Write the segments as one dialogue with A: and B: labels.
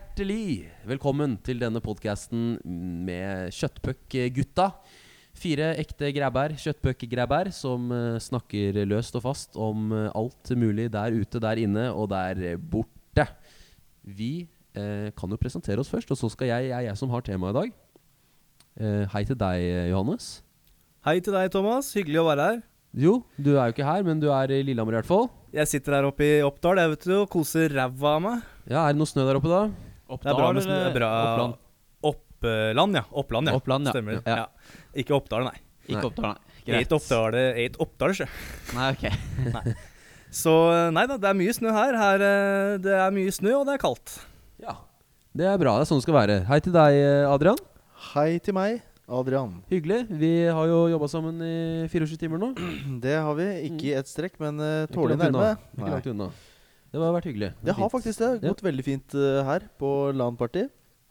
A: hjertelig velkommen til denne podkasten med Kjøttpuck-gutta. Fire ekte græbær, kjøttpuck-græbær, som eh, snakker løst og fast om eh, alt mulig der ute, der inne og der borte. Vi eh, kan jo presentere oss først, og så skal jeg, jeg, jeg som har temaet i dag. Eh, hei til deg, Johannes.
B: Hei til deg, Thomas. Hyggelig å være her.
A: Jo, du er jo ikke her, men du er i Lillehammer i hvert fall.
B: Jeg sitter her oppe i Oppdal jeg vet du, og koser ræva av meg.
A: Ja, Er det noe snø der oppe, da?
B: Det er bra med snø. det er Bra.
C: eh, Oppland.
B: Oppland, ja. Oppland, ja.
C: Oppland, ja.
B: Stemmer.
C: Ja.
B: Ja. Ikke Oppdal, nei.
A: Nei.
C: Ikke Oppdal, nei.
B: Eit Oppdal, eit Oppdal, sjø.
C: Nei, ok.
B: Så nei da, det er mye snø her. her eh, det er mye snø, og det er kaldt.
A: Ja. Det er bra. Det er sånn det skal være. Hei til deg, eh, Adrian.
D: Hei til meg, Adrian.
A: Hyggelig. Vi har jo jobba sammen i 24 timer nå.
D: Det har vi. Ikke i ett strekk, men uh,
A: Ikke
D: tålelig
A: langt unna.
D: nærme.
A: Ikke
D: Nei.
A: langt unna. Det har vært hyggelig.
D: Det har
A: fint.
D: faktisk det. Gått veldig fint eh, her på LAN-party.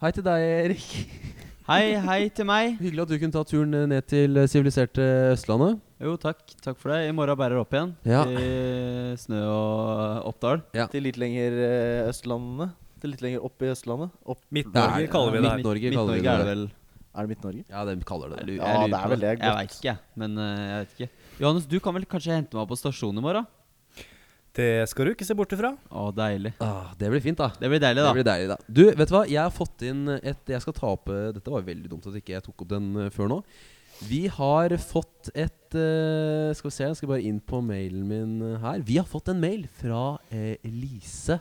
A: Hei til deg, Erik.
C: Hei, hei til meg.
A: Hyggelig at du kunne ta turen eh, ned til eh, siviliserte Østlandet.
C: Jo, takk. Takk for det. I morgen bærer det opp igjen.
A: Ja.
C: I snø og Oppdal.
D: Til litt lenger eh, Østlandene. Til litt lenger opp i Østlandet. Opp
A: Det
B: Midt-Norge
A: er-
B: kaller vi det her.
A: Midt-Norge kaller vi
C: Midt-Norge er det vel.
D: Er det Midt-Norge?
A: Ja, de kaller det
C: Jeg
A: det.
C: lurer-
D: Ja,
C: jeg lurer
D: det er
C: på
D: vel det.
C: Jeg
D: Godt.
C: veit ikke, jeg. men eh, jeg vet ikke. Johannes, du kan vel kanskje hente meg på stasjonen i morgen?
B: Det skal du ikke se bort ifra.
C: Å, deilig.
A: Ah, det blir fint, da.
C: Det blir deilig,
A: Det
C: da.
A: blir deilig, da. Du, vet du hva? Jeg har fått inn et Jeg skal ta opp eh, Dette var veldig dumt at ikke jeg tok opp den eh, før nå. Vi har fått et eh, Skal vi se, jeg skal bare inn på mailen min eh, her. Vi har fått en mail fra eh, Lise.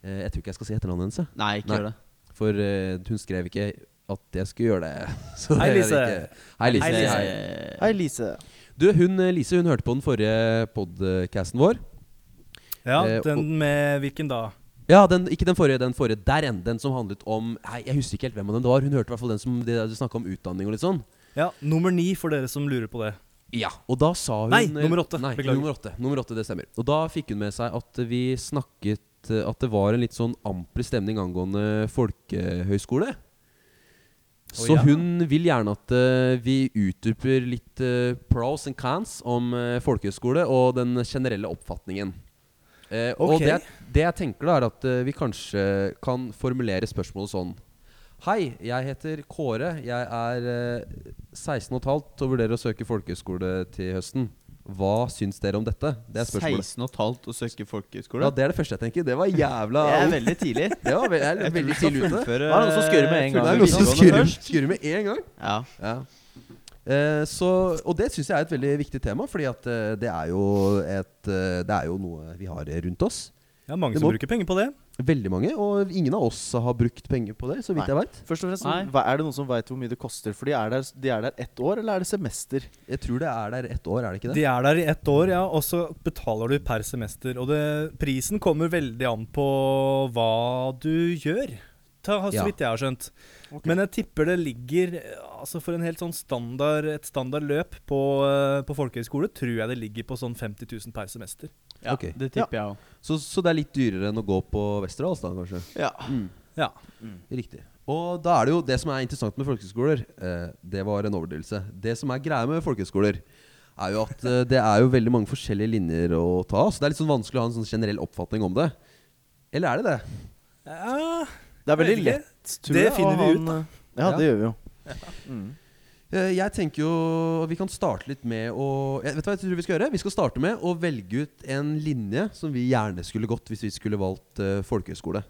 A: Eh, jeg tror ikke jeg skal si etternavnet hennes, jeg.
C: Nei, ikke
A: Nei.
C: gjør det.
A: for eh, hun skrev ikke at jeg skulle gjøre det. Så
B: Hei,
A: det er
B: Lise.
A: ikke- Hei, Lise.
B: Hei,
A: Hei,
B: Lise.
D: Hei, Lise.
A: Du, hun, eh, Lise hun hørte på den forrige podcasten vår.
B: Ja,
A: Eh, og-
B: den med hvilken da?
A: Ja, den, ikke den forrige, den forrige der igjen. Den som handlet om Nei, Jeg husker ikke helt hvem av dem det var. Hun hørte i hvert fall den som det der du snakka om utdanning og litt sånn.
B: Ja, nummer ni for dere som lurer på det.
A: Ja, og da sa hun
B: Nei, nummer åtte.
A: Nei,
B: Beklager.
A: Nummer åtte, nummer åtte, det stemmer. Og da fikk hun med seg at vi snakket eh, At det var en litt sånn amper stemning angående folkehøyskole. Så
B: ja.
A: hun vil gjerne at eh, vi utdyper litt eh, pros and cons om eh, folkehøyskole og den generelle oppfatningen. Eh, Og
B: Ok.
A: det, jeg- det jeg tenker, da er at eh, vi kanskje kan formulere spørsmålet sånn Hei, jeg heter Kåre. Jeg er eh, 16 og et halvt og vurderer å søke folkehøyskole til høsten. Hva syns dere om dette? Det er spørsmålet.
C: 16 og et halvt og søke folkehøyskole?
A: Ja, det er det første jeg tenker. Det var jævla
C: det er veldig tidlig.
A: Det var ve- jeg er veldig tidlig ute.
C: Fullføre
D: Da er det noen som skurrer med en gang.
A: Det
D: fullføre
A: er noen som
C: videregående
A: skurrer
C: først.
A: skurrer med en gang.
C: Ja.
A: Ja. Eh, så, og det syns jeg er et veldig viktig tema, fordi at eh, det, er jo et, eh, det er jo noe vi har rundt oss.
B: Ja, mange
A: Det
B: som
A: må-
B: bruker penger på det.
A: Veldig mange, og ingen av oss har brukt penger på det, så vidt
D: Nei.
A: jeg veit.
D: Først og fremst,
C: Nei.
D: hva- er det noen som veit hvor mye det koster? For de er, der, de er der ett år, eller er det semester?
A: Jeg tror det er der ett år, er det ikke det?
B: De er der i ett år, ja, og så betaler du per semester. Og det, prisen kommer veldig an på hva du gjør, ta, så
A: Ja.
B: vidt jeg har skjønt.
D: Ok.
B: Men jeg tipper det ligger eh, altså For en helt sånn standard, et standard løp på, eh, på folkehøyskole tror jeg det ligger på sånn 50 000 per semester.
C: ja,
A: Ok.
C: det tipper jeg òg.
A: Så, så det er litt dyrere enn å gå på Westerdals, da, kanskje?
C: Ja.
B: Ja.
A: Riktig. Og da er det jo det som er interessant med folkehøyskoler eh, Det var en overdrivelse. Det som er greia med folkehøyskoler, er jo at eh, det er jo veldig mange forskjellige linjer å ta. Så det er litt sånn vanskelig å ha en sånn generell oppfatning om det. Eller er det det?
B: Ja,
D: Det
B: Jeg
D: er veldig
B: vet ikke.
D: lett, tror
B: Det
D: jeg, å
B: finner vi
D: ha
B: ut,
D: en,
B: da.
D: eh, Ja,
A: Ja.
D: det gjør vi jo. Mm.
A: Eh, Jeg tenker jo Vi kan starte litt med å jeg, Vet du hva jeg tror vi skal gjøre? Vi skal starte med å velge ut en linje som vi gjerne skulle gått hvis vi skulle valgt eh, folkehøyskole.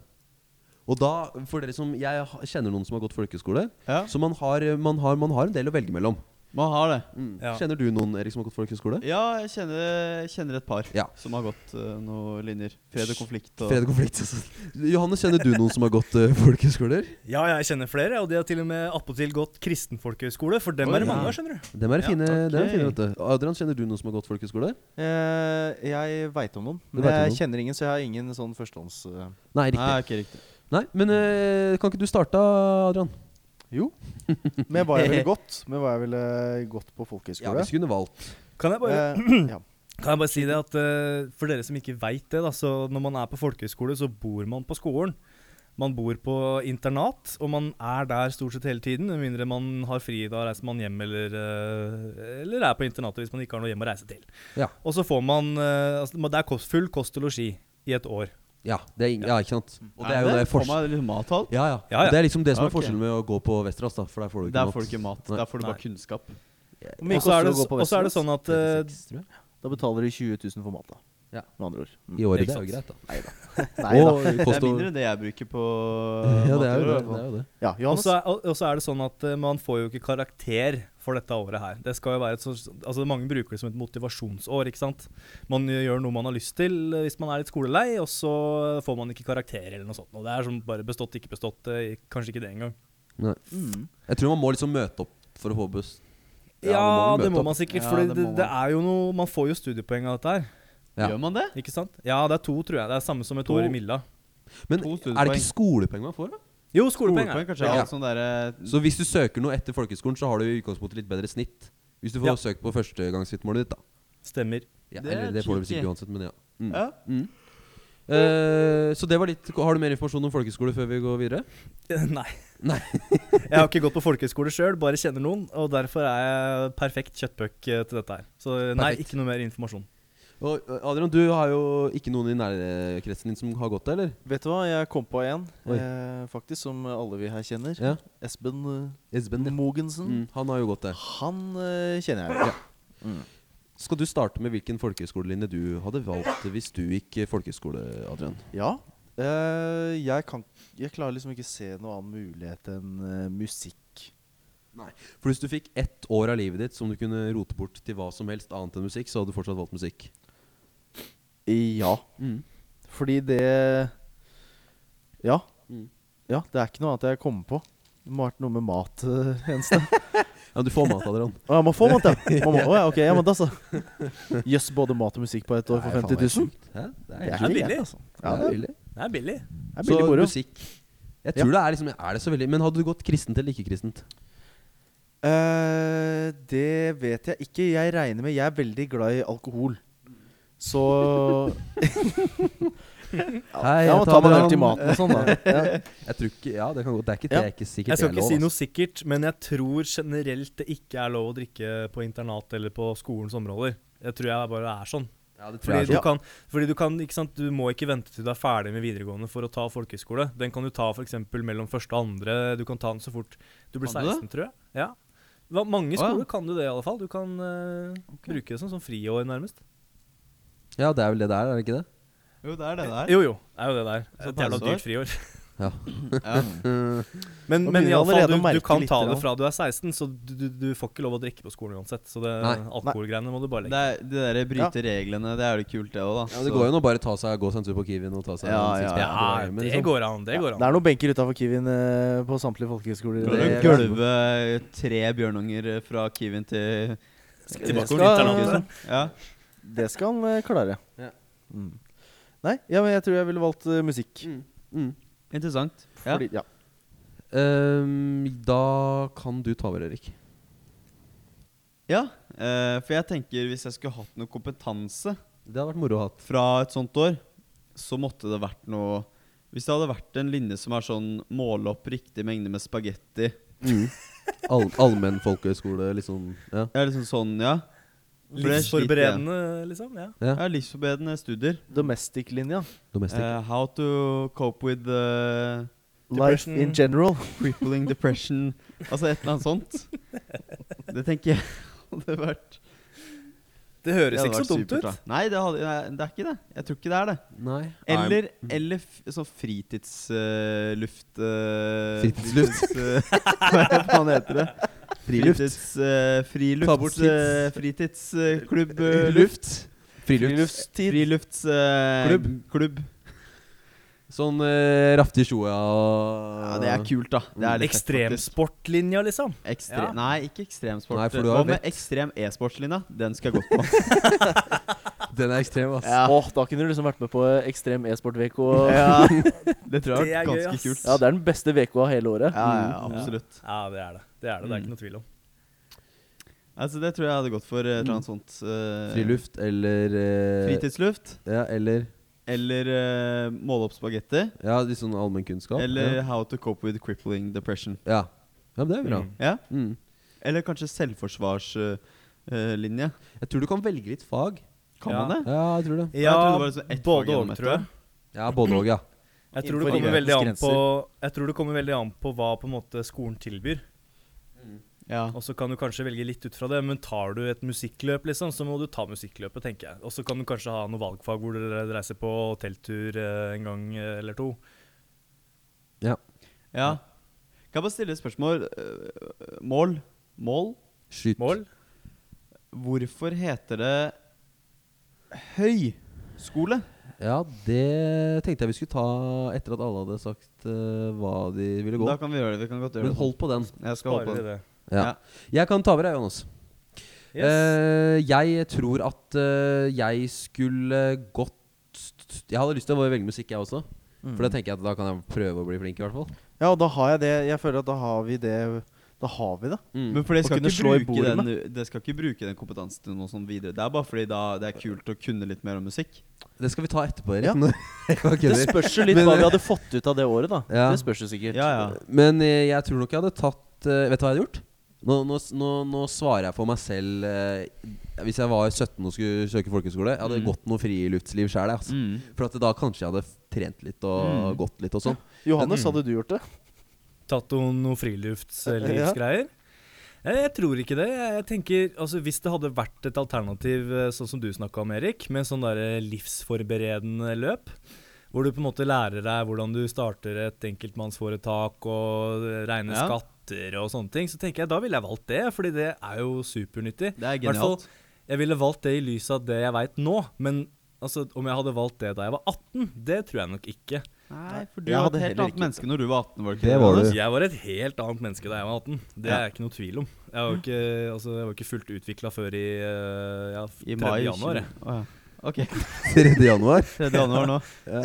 A: Og da, for dere som Jeg ha- kjenner noen som har gått folkehøyskole.
C: ja.
A: Så man har, man, har, man har en del å velge mellom.
C: Man har det.
B: Ja.
A: Mm. Kjenner du noen Erik, som har gått folkehøyskole?
C: Ja, jeg kjenner, jeg kjenner et par
A: Ja.
C: som har gått eh, noen linjer. Fred og konflikt og
A: Fred og konflikt. altså. Johannes, kjenner du noen som har gått eh, folkehøyskoler?
B: ja, jeg kjenner flere, og de har til og med attpåtil gått kristen folkehøyskole, for dem
C: Oi,
B: er det
C: ja.
B: mange av, skjønner du.
A: Dem er
B: Ja,
A: fine. dem er
C: ok.
A: fine vet du. Adrian, kjenner du noen som har gått folkehøyskole?
D: Eh, jeg veit om noen.
A: Du
D: Men
A: vet om
D: jeg
A: noen.
D: kjenner ingen, så jeg har ingen sånn førstehånds... eh,
A: Nei, riktig. Nei,
C: Nei, ikke riktig.
A: Men eh, kan ikke du starte, Adrian?
D: Jo. Med hva jeg ville gått. Med hva jeg ville gått
A: Ja,
D: på folkehøyskole.
A: hvis du kunne valgt.
B: Kan jeg bare
D: Eh, ja.
B: Kan jeg bare si det at eh, For dere som ikke veit det, da, så når man er på folkehøyskole, så bor man på skolen. Man bor på internat, og man er der stort sett hele tiden. Med mindre man har fri, da reiser man hjem eller, eh, eller er på internatet hvis man ikke har noe hjem å reise til.
A: Ja.
B: Og så får man eh, altså, man- Det er kost, full kost og losji i et år.
A: Ja, det er, ing- ja, ikke sant? Og det er jo
C: det
A: det
C: Få
A: forskjell...
C: meg litt mat og alt.
A: Ja, ja.
B: Ja, ja.
A: Det er liksom det som
C: Ja,
A: er
C: ok.
A: forskjellen med å gå på Vesterås, da. For der får du ikke
C: Der får du ikke mat.
A: Nei.
C: Der får du bare
D: Nei.
C: kunnskap.
D: Hvor mye
B: Og så er,
D: koster det
B: det,
D: å gå på
B: og så er det
D: Vestlands?
B: sånn at eh,
A: 36, tror jeg.
D: Da betaler du 20 000 for mat, da.
A: Ja.
D: Med andre ord. Mm.
A: I året, det er
B: ikke
A: jo
B: sant.
A: greit, da.
D: Nei da.
A: Og det
C: Det er
A: koster-
C: mindre enn det jeg bruker på
A: Ja, det er jo
C: matvarer, i
A: det.
C: hvert
A: det,
C: fall.
A: er jo det.
D: Ja,
B: Og
D: Johannes.
B: så er, og- og så er det sånn at eh, man får jo ikke karakter for dette året her. Det skal jo være et så, altså Mange bruker det som et motivasjonsår. ikke sant? Man gjør noe man har lyst til eh, hvis man er litt skolelei, og så får man ikke karakter eller noe sånt. Og det er sånn bare bestått, ikke bestått. eh, Kanskje ikke det engang.
A: Nei.
D: Mm.
A: Jeg tror man må liksom møte opp for å få buss.
B: Ja,
A: man må vel
B: det
A: møte
B: må
A: opp.
B: man sikkert,
C: Ja,
B: for
C: det
B: det,
C: må
B: det er jo noe Man får jo studiepoeng av dette her,
A: Ja.
C: Gjør man det?
B: ikke sant? Ja, det er to, tror jeg. Det er samme som et
C: To.
B: år i Milla.
A: Men
C: To
A: er det ikke skolepenger man får, da?
B: Jo, skolepoeng.
C: Skolepoeng,
B: er det.
C: kanskje.
A: Ja.
C: Ja. Sånn derre
A: Så hvis du søker noe etter folkehøyskolen, så har du i utgangspunktet litt bedre snitt. Hvis du får
B: Ja.
A: søkt på førstegangsvitnemålet ditt, da.
B: Stemmer.
A: Ja,
C: Det er
A: eller det får du vel
C: cheeky.
A: sikkert uansett, men ja. Mm.
C: Ja.
A: Mm. Eh, så det var litt Har du mer informasjon om folkehøyskole før vi går videre?
B: Nei.
A: Nei.
B: jeg har ikke gått på folkehøyskole sjøl, bare kjenner noen. Og derfor er jeg perfekt kjøttpuck eh, til dette her. Så nei,
A: Perfekt.
B: ikke noe mer informasjon.
A: Og eh, Adrian, du har jo ikke noen i nærkretsen din som har gått det, eller?
D: Vet du hva, jeg kom på en,
A: Oi.
D: eh, faktisk, som alle vi her kjenner.
A: Ja.
D: Espen eh,
A: Esben, ja.
D: Mogensen.
A: Mm, han har jo gått det.
D: Han eh, kjenner jeg.
A: Skal du starte med hvilken folkehøyskolelinje du hadde valgt hvis du gikk eh, folkehøyskole, Adrian?
D: Ja. Eh, jeg, kan, jeg klarer liksom ikke se noen annen mulighet enn eh, musikk.
A: For hvis du fikk ett år av livet ditt som du kunne rote bort til hva som helst annet enn musikk, så hadde du fortsatt valgt musikk.
D: Ja.
A: Mm.
D: Fordi det Ja.
A: Mm.
D: Ja, det er ikke noe annet jeg kommer på. Det må ha vært noe med mat eh, en sted.
A: Ja, du får mat, Adrian.
D: Å, jeg må få mat, ja! Man må, å, ja ok, ja, men da så. Jøss, både mat og musikk på ett år
A: Nei,
D: for
A: faen,
D: 50 000?
A: Det er sjukt. Hæ? Det
D: Det
A: er
D: er
A: helt sjukt.
B: billig.
D: greit, altså.
A: Det
D: Ja,
A: er billig.
B: Det er billig.
D: det er
A: Så
D: billig moro.
A: musikk Jeg tror det er liksom Er det så veldig Men hadde du gått kristent eller ikke kristent?
D: Eh, det vet jeg ikke. Jeg regner med Jeg er veldig glad i alkohol. Så
A: Hei,
D: Ja,
A: jeg
D: må
A: tar
D: ta meg en
A: den.
D: øl til maten og sånn, da. Ja.
A: Jeg tror ikke Ja, det kan gå Det er ikke, det
D: Ja.
A: er ikke sikkert
B: Jeg skal
A: det er
B: ikke
A: lov,
B: si noe
A: altså.
B: sikkert, men jeg tror generelt det ikke er lov å drikke på internat eller på skolens områder. Jeg tror jeg bare er sånn.
A: Ja, det tror
B: Fordi
A: jeg er
B: du,
A: sånn.
B: kan, fordi du kan, ikke sant, du må ikke vente til du er ferdig med videregående for å ta folkehøyskole. Den kan du ta for eksempel mellom første og andre. Du kan ta den så fort du blir
C: Kan du det?
B: 16, tror jeg. Ja. Hva- Mange
C: Å, ja.
B: skoler kan du det, i alle fall. Du kan eh, bruke det som, som friår, nærmest.
A: Ja, det er vel det der, er det ikke det?
C: Jo, det er det der.
B: Jo, jo. er jo det der. Så
C: Et
B: det er da
C: halvt
B: dyrt friår.
A: Ja.
C: Ja.
B: Men, men
D: Nå
B: i alle
D: begynner jeg allerede
B: fall,
D: å
B: du, du
D: merke
B: kan
D: litt
B: ta det
D: grann.
B: fra du er 16, så du, du, du får ikke lov å drikke på skolen uansett. Så det
A: Nei.
B: alkoholgreiene må du bare
C: Det,
B: legge.
C: er, det der bryte reglene, det er jo kult, det òg, da.
A: ja, det går jo an å bare ta seg, gå seg en tur på Kiwien og ta seg
C: Ja,
A: en
C: ja,
A: sixpack.
B: Ja,
A: går- men
B: det
A: liksom-
B: går an. Det
D: Ja,
B: går
D: det
B: an.
D: er noen benker utafor Kiwien eh, på samtlige folkehøyskoler.
C: Kan
D: Det-
C: du gulve tre bjørnunger fra Kiwien til
B: Tilbake
D: skal-
B: til internatet.
C: Ja.
D: Det skal han eh, klare.
A: Ja.
D: Mm. Nei, ja, men jeg tror jeg ville valgt eh, musikk.
A: Mm. Mm.
C: Interessant. Ja.
D: Fordi, ja.
A: Ehm, da kan du ta over, Erik.
C: ja eh, for jeg tenker hvis jeg skulle hatt noe kompetanse
A: Det hadde vært moro å ha.
C: fra et sånt år, så måtte det vært noe Hvis det hadde vært en linje som er sånn måle opp riktig mengde med spagetti
A: All, allmenn folkehøyskole, Mm. liksom. Ja.
C: Ja, liksom sånn, ja. For det sliter jeg.
B: Livsforberedende, liksom. Ja.
A: ja.
C: Ja, livsforbedrende studier.
D: Domestic-linja.
A: Domestic.
C: Eh, how to cope with eh,
D: Life
B: Depression.
D: in general.
C: crippling depression Altså et eller annet sånt. Det tenker jeg hadde vært
B: Det høres ikke så dumt
C: supert,
B: ut.
C: da. Nei, det, hadde, nei, det er ikke det. Jeg tror ikke det er det.
A: Nei.
C: Eller, eller f sånn eh, fritidsluft
A: Fritidsluft?
C: eh, hva er det faen heter det?
A: Friluft.
C: Fritids, eh, frilufts,
A: Ta bort tids.
C: eh, fritidsklubb eh,
A: Luft. Friluft.
D: Friluftstid.
C: Frilufts... eh,
A: Klubb.
C: klubb.
A: Sånn eh, raftig tjoa og
C: Ja, det er kult, da. Det er litt fett, faktisk.
B: Ekstremsportlinja, liksom.
C: Ekstre
B: Ja.
C: Nei, ikke ekstremsport.
A: Nei, for du har
C: Hva
A: jo
C: med
A: vett.
C: ekstrem e-sportlinja? Den skal jeg godt på.
A: Den er ekstrem, ass.
C: Ja.
D: Åh, da kunne du liksom vært med på eh, ekstrem e-sport VK.
C: Ja, det tror
B: Det
C: jeg har
B: er
C: vært
B: gøy,
C: ganske
B: ass.
C: kult.
D: Ja, det er den beste VK av hele året.
C: ja, ja,
A: Mm.
C: absolutt.
B: Ja, det er det. Det er det, det
C: Mm.
B: er ikke noe tvil om.
C: Altså, det tror jeg jeg hadde gått for. eh, Et eller
A: Mm.
C: annet sånt eh,
A: Friluft eller eh,
C: Fritidsluft.
A: Ja, eller
C: Eller eh, måle opp spagetti.
A: Ja, litt sånn allmennkunnskap.
C: Eller
A: ja.
C: How to cope with crippling depression.
A: ja. ja, men det er bra.
B: Mm.
C: Ja?
A: Mm.
C: Eller kanskje selvforsvarslinje.
A: Jeg tror du kan velge litt fag.
C: kan
B: Ja.
C: man det?
A: Ja, jeg tror det.
C: Jeg trodde det var liksom ett fag
B: både
C: gjennom
B: og,
C: ett
B: tror jeg.
A: Ja, både òg, ja.
B: Jeg tror, det
D: Innenfor
B: kommer veldig an
D: idrettens
B: på, jeg tror det kommer veldig an på hva på en måte skolen tilbyr.
C: Ja.
B: Og så kan du kanskje velge litt ut fra det, men tar du et musikkløp, liksom, så må du ta musikkløpet, tenker jeg. Og så kan du kanskje ha noe valgfag hvor dere reiser på telttur eh, en gang eh, eller to.
A: ja.
C: ja. Kan jeg bare stille et spørsmål? Eh, Mål? Mål?
A: Skyt.
B: Mål?
C: Hvorfor heter det høyskole?
A: Ja, det tenkte jeg vi skulle ta etter at alle hadde sagt eh, hva de ville gå.
C: Da kan vi gjøre det. Vi kan godt gjøre
A: Men
C: det.
A: hold på den.
C: Jeg skal
B: Sparer
C: holde på
B: vi
C: den.
B: det?
A: Ja.
C: Ja.
A: Jeg kan ta over, jeg, Jonas.
B: Yes.
A: Eh, jeg tror at eh, jeg skulle gått Jeg hadde lyst til å velge musikk, jeg også. For da tenker jeg at da kan jeg prøve å bli flink, i hvert fall.
D: Ja, og da har jeg det. Jeg føler at da har vi det. Da har vi det.
A: Mm.
C: Men for det
D: Å
C: skal,
D: kunne
C: ikke
D: slå i
C: bruke
D: bordet
C: den, det skal ikke bruke den kompetansen til noe sånn videre. Det er bare fordi da det er kult å kunne litt mer om musikk.
A: Det skal vi ta etterpå,
D: Ja.
A: Erik. Jeg bare
D: Det
A: kødder.
D: spørs jo litt hva vi hadde fått ut av det året, da.
A: Ja.
D: Det spørs jo sikkert.
C: Ja, ja.
A: Men eh, jeg tror nok jeg hadde tatt eh, Vet du hva jeg hadde gjort? Nå, nå, s- nå, nå svarer jeg for meg selv eh, Hvis jeg var 17 og skulle søke folkehøyskole, jeg hadde
C: Mm.
A: gått noe friluftsliv sjøl. Altså.
C: Mm.
A: For at da kanskje jeg hadde f- trent litt og gått litt og sånn.
D: Johannes, hadde du gjort det?
B: Tatt noen, noen friluftslivsgreier? Jeg, jeg tror ikke det. Jeg, jeg tenker, altså Hvis det hadde vært et alternativ eh, sånn som du snakka om, Erik, med sånn derre livsforberedende løp, hvor du på en måte lærer deg hvordan du starter et enkeltmannsforetak og eh, regner
C: Ja.
B: skatter og sånne ting, så tenker jeg da ville jeg valgt det, fordi det er jo supernyttig.
C: Det er
B: I hvert fall,
C: genialt.
B: jeg ville valgt det i lys av det jeg veit nå, men altså, om jeg hadde valgt det da jeg var 18, det tror jeg nok ikke.
C: Nei, for du
D: Jeg
C: var
D: hadde
C: et helt
D: heller
C: annet
D: ikke-
C: menneske når du var 18. Var det ikke
A: Det var
C: Johannes?
A: du.
B: Altså, Jeg var et helt annet menneske da jeg var 18. Det er ikke noe tvil om. Jeg var ikke, altså, jeg var ikke fullt utvikla før i, eh, ja,
C: I
B: 3.
C: mai.
B: januar. jeg.
C: 20. Å, ja. Ok.
A: 3. januar.
C: 3. januar nå.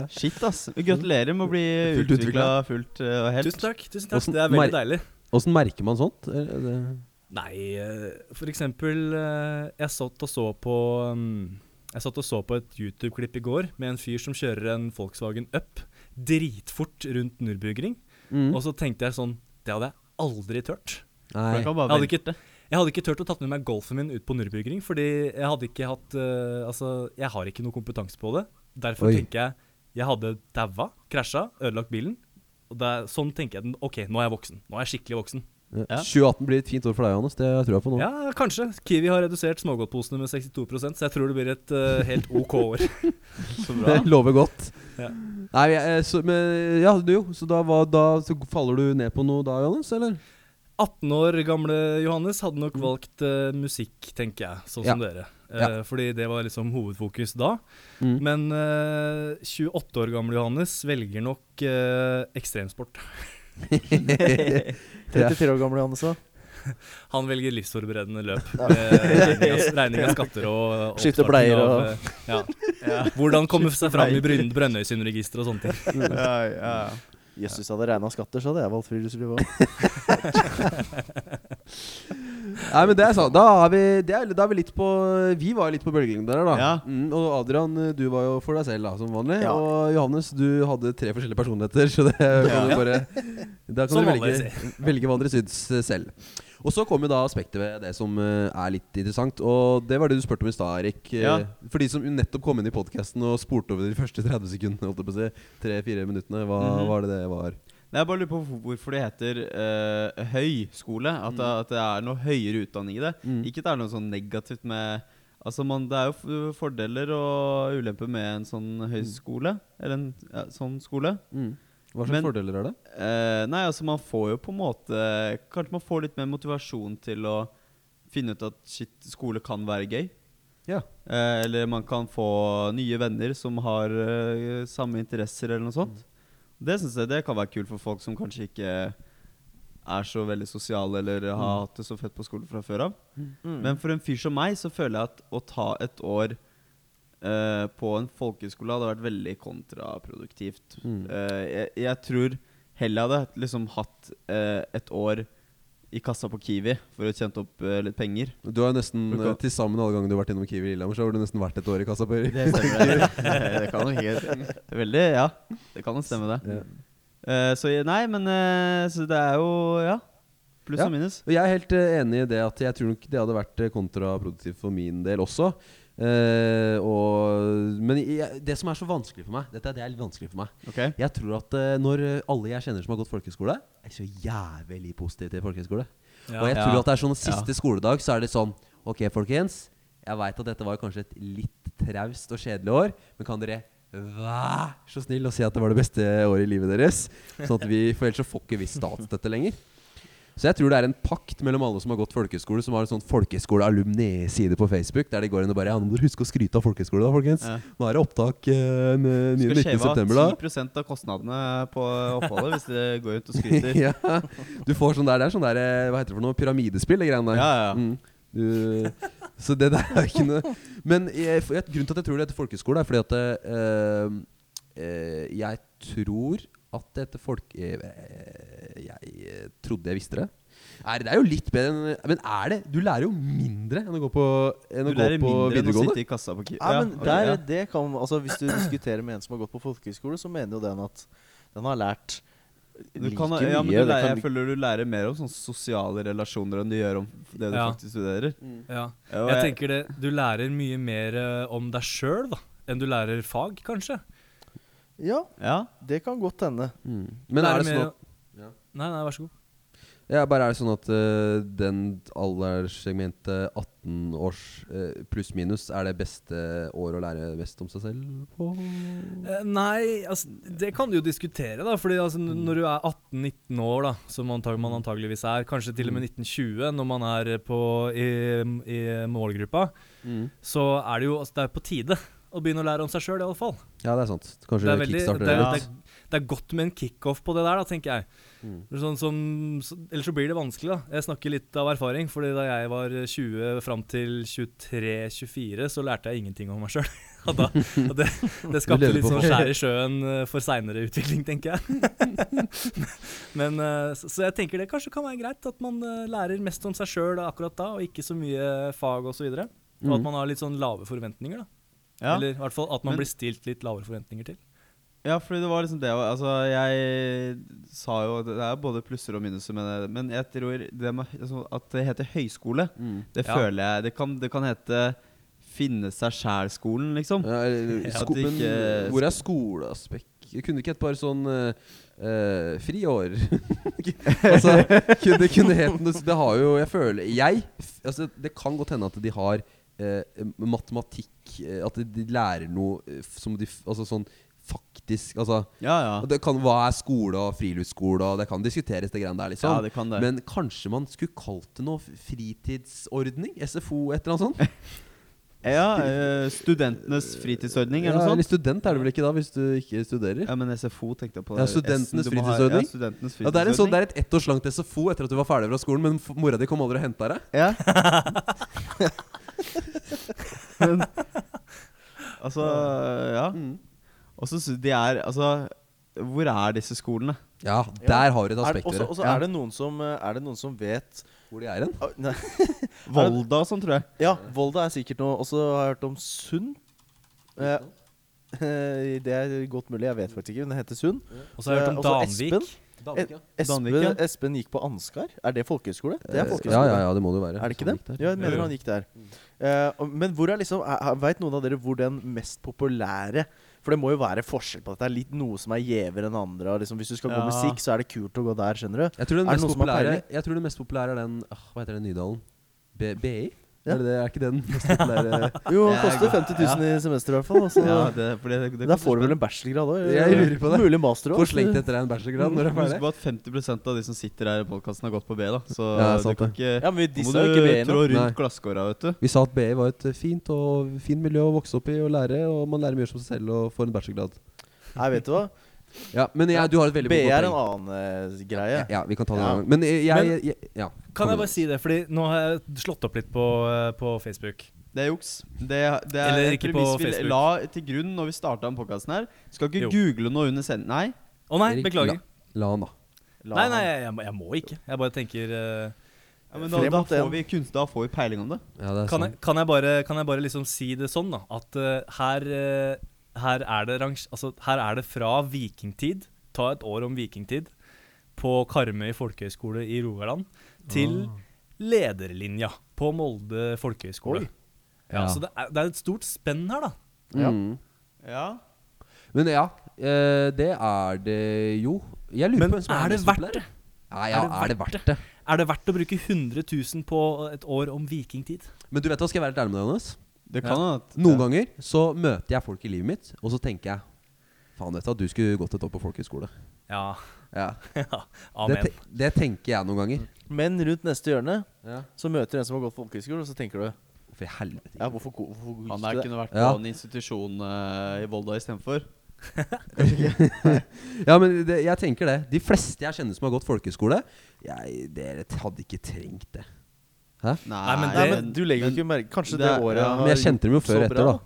C: Shit, ass. Gratulerer med å bli
A: Fullt
C: utvikla fullt eh, og helt.
B: Tusen takk. tusen takk,
A: Hvordan
B: Det er
A: mer-
B: veldig deilig.
A: Åssen merker man sånt? Er det-
B: Nei, eh, for eksempel eh, Jeg satt og så på mm, Jeg satt og så på et YouTube-klipp i går med en fyr som kjører en Volkswagen Up dritfort rundt Nürburgring.
A: Mm.
B: Og så tenkte jeg sånn Det hadde jeg aldri turt.
C: For jeg
A: Nei.
C: kan
B: Jeg
C: bare
B: hadde,
C: vente.
B: ikke, jeg hadde ikke turt å tatt med meg golfen min ut på Nürburgring, fordi jeg hadde ikke hatt eh, Altså, jeg har ikke noe kompetanse på det. Derfor
A: Oi.
B: tenker jeg jeg hadde daua, krasja, ødelagt bilen. Og det er, sånn tenker jeg den. OK, nå er jeg voksen. Nå er jeg skikkelig voksen.
A: Ja. 2018 blir et fint år for deg, Johannes. Det tror jeg på nå.
B: Ja, kanskje. Kiwi har redusert smågodtposene med 62 så jeg tror det blir et eh, helt OK år.
C: Så bra.
A: Det lover godt.
B: Ja.
A: Nei, jeg, så, men, ja, du, jo. Så da, var, da så faller du ned på noe da, Johannes? Eller?
B: 18 år gamle Johannes hadde nok valgt eh, musikk, tenker jeg, sånn som dere. Eh,
A: Ja.
B: Fordi det var liksom hovedfokus da.
A: Mm.
B: Men eh, 28 år gamle Johannes velger nok eh, ekstremsport.
A: Mm.
D: 34 år gamle Johannes, da.
B: Han velger livsforberedende løp. Med regning, av, regning av skatter og og
D: Skifte
B: oppstarten
D: bleier og-
B: av, eh, ja. Hvordan komme seg fram i Bryn- Brønnøysundregisteret og sånne ting.
C: Ja, ja, ja.
D: Jøss, hvis jeg hadde regna skatter, så hadde jeg valgt friluftsliv òg.
A: Nei, men det er sant. Da er vi, det er, da er vi litt på Vi var jo litt på bølgelengden der, da.
C: Ja.
A: Mm, og Adrian, du var jo for deg selv, da, som vanlig.
D: Ja.
A: Og Johannes, du hadde tre forskjellige personligheter, så det kan du bare Da kan
B: Som
A: du
B: vanlig,
A: velge, velge hva dere syns eh, selv. Og så kommer da aspektet ved det som eh, er litt interessant, og det var det du spurte om i stad, Erik. Eh,
C: Ja.
A: For de som nettopp kom inn i podkasten og spurte over de første 30 sekundene, holdt jeg på å si, tre-fire minuttene, hva
C: Mhm.
A: var det det var?
C: Nei, Jeg bare lurer på hvor- hvorfor det heter eh, høyskole. At, det- at det er noe høyere utdanning i det.
A: Mm.
C: Ikke at det er noe sånn negativt med Altså man, Det er jo f fordeler og ulemper med en sånn høyskole. Eller en ja, sånn skole.
A: Mm. Hva slags
C: Men-
A: fordeler er det?
C: Eh, nei, altså man får jo på en måte Kanskje man får litt mer motivasjon til å finne ut at shit, skole kan være gøy.
A: Ja.
C: Eh, eller man kan få nye venner som har eh, samme interesser, eller noe sånt. Det synes jeg det kan være kult for folk som kanskje ikke er så veldig sosiale eller har hatt det så fett på skolen fra før av. Men for en fyr som meg, så føler jeg at å ta et år eh, på en folkehøyskole hadde vært veldig kontraproduktivt.
A: Mm.
C: Eh, jeg, jeg tror heller jeg hadde liksom hatt eh, et år i kassa på Kiwi for å tjent opp eh, litt penger.
A: Du har jo nesten
C: Du kan-
A: eh, til sammen alle gangene du har vært innom Kiwi i Lillehammer, så har du nesten vært et år i kassa på Erik.
C: Det stemmer, det. det kan jo helt Veldig, ja. Det kan jo stemme, det.
A: Ja.
C: Eh, så jeg- nei, men eh, så det er jo Ja. Pluss
A: Ja.
C: og minus.
A: Og jeg er helt eh, enig i det at jeg tror nok det hadde vært eh, kontraproduktivt for min del også. Eh, og, men jeg, det som er så vanskelig for meg Dette er det er litt vanskelig for meg.
C: Ok?
A: Jeg tror at eh, når alle jeg kjenner som har gått folkehøyskole, er så jævlig positive til folkehøyskole. Og jeg
C: Ja.
A: tror at det er sånn siste skoledag, så er det sånn Ok, folkens. Jeg veit at dette var kanskje et litt traust og kjedelig år, men kan dere vær så snill å si at det var det beste året i livet deres? Sånn at vi, For ellers så får ikke vi statsstøtte lenger. Så jeg tror det er en pakt mellom alle som har gått folkehøyskole, som har en sånn folkehøyskole-alumni-side på Facebook, der de går inn og bare Ja, nå må dere huske å skryte av folkehøyskole, da, folkens.
C: Ja.
A: Nå er det opptak eh, n- 9.
C: Skal
A: 19.
C: skjeve
A: september, da.
C: av 10 av kostnadene på oppholdet hvis det går ut og skryter.
A: ja. Du får sånn der, det er sånn der eh, Hva heter det for noe? Pyramidespill, det greiene der.
C: Ja, ja.
A: Mm. Du, så det der er ikke noe Men jeg, for- jeg, grunnen til at jeg tror det heter folkeskole, er fordi at eh, eh, Jeg tror at det heter folk... eh, eh, jeg eh, trodde jeg visste det. Er, det er jo litt bedre enn Men er det? Du lærer jo mindre enn å gå på, enn
C: Du
A: å gå
C: lærer
A: på
C: mindre enn å
A: videregående.
C: sitte i kassa på Kiwi.
D: Nei, men
C: ok,
D: der,
C: ja.
D: det kan, altså, Hvis du diskuterer med en som har gått på folkehøyskole, så mener jo den at den har lært
C: Du kan,
D: like
C: ja, men
D: mye,
C: du
D: det
C: lærer,
D: kan-
C: jeg føler du lærer mer om sånne sosiale relasjoner enn du gjør om det du
B: Ja.
C: faktisk studerer.
A: Mm.
B: Ja.
C: Og
B: Jeg tenker det, du lærer mye mer eh, om deg sjøl, da. Enn du lærer fag, kanskje.
D: Ja,
C: ja,
D: det kan godt hende.
A: Mm. Men er det sånn at
B: mer-
A: Ja.
B: Nei, nei, vær så god.
A: Ja, bare er det sånn at eh, den alderssegmentet 18 års eh, pluss minus er det beste året å lære best om seg selv på?
B: Eh, Nei, altså, det kan du jo diskutere, da. Fordi altså, n- når du er 18-19 år, da, som antag man antageligvis er, kanskje til og med 1920 når man er på, i, i målgruppa, så er det jo altså, det er på tide å begynne å lære om seg sjøl, iallfall.
A: Ja, det er sant.
B: Det
A: Kanskje
B: er, veldig, det,
A: kickstarter
B: er,
A: det
B: det,
A: litt.
B: er, det er godt med en kickoff på det der, da, tenker jeg.
A: Mm.
B: Sånn som, så, ellers så blir det vanskelig, da. Jeg snakker litt av erfaring, fordi da jeg var 20 fram til 23-24, så lærte jeg ingenting om meg sjøl. Og da- og det, det skapte
A: levde
B: litt
A: på
B: sånn
A: fag.
B: skjær i sjøen eh, for seinere utvikling, tenker jeg. Men, eh, så, så jeg tenker det kanskje kan være greit at man eh, lærer mest om seg sjøl akkurat da, og ikke så mye fag osv. Og, så videre. og
A: Mm.
B: at man har litt sånn lave forventninger, da.
C: ja.
B: Eller i hvert fall at man
C: Men-
B: blir stilt litt lavere forventninger til.
C: ja, fordi det var liksom det Altså, jeg sa jo at Det er både plusser og minuser med det, men jeg tror det med, altså, at det heter høyskole,
A: Mm.
C: det
B: Ja.
C: føler jeg Det kan, det kan hete finne seg sjæl-skolen, liksom.
A: Ja, eller
C: At
A: sko
C: det
A: men
C: ikke-
A: hvor er skoleaspekt? Kunne ikke et par sånn eh, eh, friår Altså, kunne, det kunne het noe Det har jo Jeg føler Jeg altså, Det kan godt hende at de har eh, matematikk eh, At de lærer noe eh, f- som de f- Altså sånn faktisk Altså
C: Ja, ja.
A: og det kan, Hva er skole og friluftsskole, og det kan diskuteres, det greiene der, liksom.
C: Ja, det kan det.
A: Men kanskje man skulle kalt det noe f- fritidsordning? SFO, et eller annet sånt?
C: ja eh, studentenes fritidsordning, eller
A: Ja,
C: noe
A: eller
C: sånt.
A: student er du vel ikke da, hvis du ikke studerer?
C: Ja, men SFO tenkte jeg på.
A: Ja,
C: S-en, du
A: studentenes
C: må ha-
A: fritidsordning.
C: Ja, studentenes
A: Ja, det, er en sånn,
C: fritidsordning.
A: det er et ett års langt SFO etter at du var ferdig fra skolen, men f- mora di kom aldri og henta deg.
C: Ja. Men Altså, ja. Og så sy- de er Altså, hvor er disse skolene?
A: Ja,
D: Ja.
A: der har du et
D: Er,
A: aspekt ved
D: også,
A: det.
D: også
C: Ja.
D: er, det noen som, eh, er det noen som vet
A: Hvor de er hen.
D: Ah, nei,
C: Volda og sånn, tror jeg.
D: Ja, Volda er sikkert noe. Og så har jeg hørt om Sund. Eh, eh, det er godt mulig, jeg vet faktisk ikke, men det heter Sund.
B: Og så har jeg hørt om
D: Eh, også Espen.
B: Danvik.
D: Eh, Espen,
C: Danvik, ja.
D: Espen gikk på Ansgar. Er det folkehøyskole? Det
A: Eh,
D: er folkehøyskole.
A: ja, ja, ja, det må det jo være.
D: Er det ikke
A: Sånn
D: det?
A: gikk
D: Ja, jeg mener
B: Jo, jo.
D: han gikk der. Eh, og- men hvor er liksom er- er- Vet noen av dere hvor den mest populære For det må jo være forskjell på dette. Det er litt noe som er gjevere enn andre. Og liksom, hvis du skal gå
C: Ja.
D: musikk, så er det kult å gå der, skjønner du.
A: Jeg tror den
D: Er det
A: mest
D: noen som har
A: populære
D: peiling?
A: Jeg tror den mest populære er den ah, Hva heter den Nydalen? B- BI?
D: Ja.
A: Er, det det, er ikke det den mest populære
D: Jo,
C: det
D: det
C: er
D: koster
C: godt.
D: 50 000 i semesteret i hvert fall. altså. og så-
C: Ja, det, for det, det,
D: der får du vel en bachelorgrad òg?
A: Jeg lurer på det.
D: Mulig master òg.
A: Hvor slengt etter deg en bachelorgrad når du er
C: Husk
A: ferdig?
C: på at 50 av de som sitter her i podkasten, har gått på B, da. Så
A: Ja,
C: du
A: sant
C: kan
A: det.
C: ikke
D: Ja, men
C: Nå
D: de
C: må
D: sa jo ikke
C: du
D: B
C: trå
D: nå.
A: Nei.
C: rundt glasskåra, vet du.
A: Vi sa at BI var et fint og fin miljø å vokse opp i og lære, og man lærer mye om seg selv og får en bachelorgrad.
D: Nei, vet du hva.
A: Ja, men jeg, du har et veldig
D: B er
A: godt
D: en
A: poeng.
D: annen eh, greie.
A: Ja, vi kan ta det en
D: Ja.
A: annen gang. Men jeg, jeg, jeg ja,
B: Kan
A: du.
B: jeg bare si det, fordi nå har jeg slått opp litt på, eh, på Facebook.
C: Det er juks. Det, det er
B: Eller
C: jeg
B: ikke
C: tror
B: på
C: hvis vi
B: Facebook.
C: La til grunn når vi starta den podkasten her. Skal ikke
B: Jo.
C: google noe under send... Nei.
B: Å nei,
A: Erik,
B: beklager.
A: La, la han, da.
D: La
B: Nei,
D: han-
B: nei, jeg, jeg, må- jeg må ikke. Jeg bare tenker eh,
C: Ja, men da,
D: Frem
C: da,
D: mot
C: får
D: den.
C: vi kunst, da får vi peiling om det.
A: Ja, det er
B: kan,
A: sant.
B: jeg, kan, jeg bare, kan jeg bare liksom si det sånn, da? At eh, her, eh, her, er det range, altså, her er det fra vikingtid, ta et år om vikingtid, på Karmøy folkehøgskole i Rogaland, til lederlinja på Molde folkehøgskole.
A: Ja.
B: Så det er, det er et stort spenn her, da.
D: Ja.
A: Mm.
C: Ja.
A: Men ja, eh, det er det jo. Jeg lurer
B: Men
A: på hvem som
B: er det
A: mest
B: verdt
A: populær.
B: det?
A: Nei, ja, er det verdt det?
B: Er det verdt å bruke 100 000 på et år om vikingtid?
A: Men du vet hva, skal jeg være litt ærlig med deg, Johannes?
C: Det kan hende at
A: Noen ganger så møter jeg folk i livet mitt, og så tenker jeg Faen, vet du at du skulle gått et år på folkehøyskole.
B: Ja.
A: Ja. Det,
B: Amen.
A: te det tenker jeg noen ganger.
D: Men rundt neste hjørne
A: Ja.
D: så møter du en som har gått folkehøyskole, og så tenker du
A: For i helvete.
D: Ja, hvorfor, go- hvorfor gikk
C: han
D: du
C: der
D: der?
C: kunne vært
A: Ja.
C: på en institusjon eh, i Volda istedenfor.
A: Ja, men det, jeg tenker det. De fleste jeg kjenner som har gått folkehøyskole, jeg- dere hadde ikke trengt det. Hæ?
B: Nei, men
D: Nei,
B: det-
D: men du legger jo ikke merke Kanskje det,
C: det er-
D: året
C: ja,
A: Men jeg kjente dem jo
D: gjort
A: før
D: så
A: og
D: bra,
A: etter, da.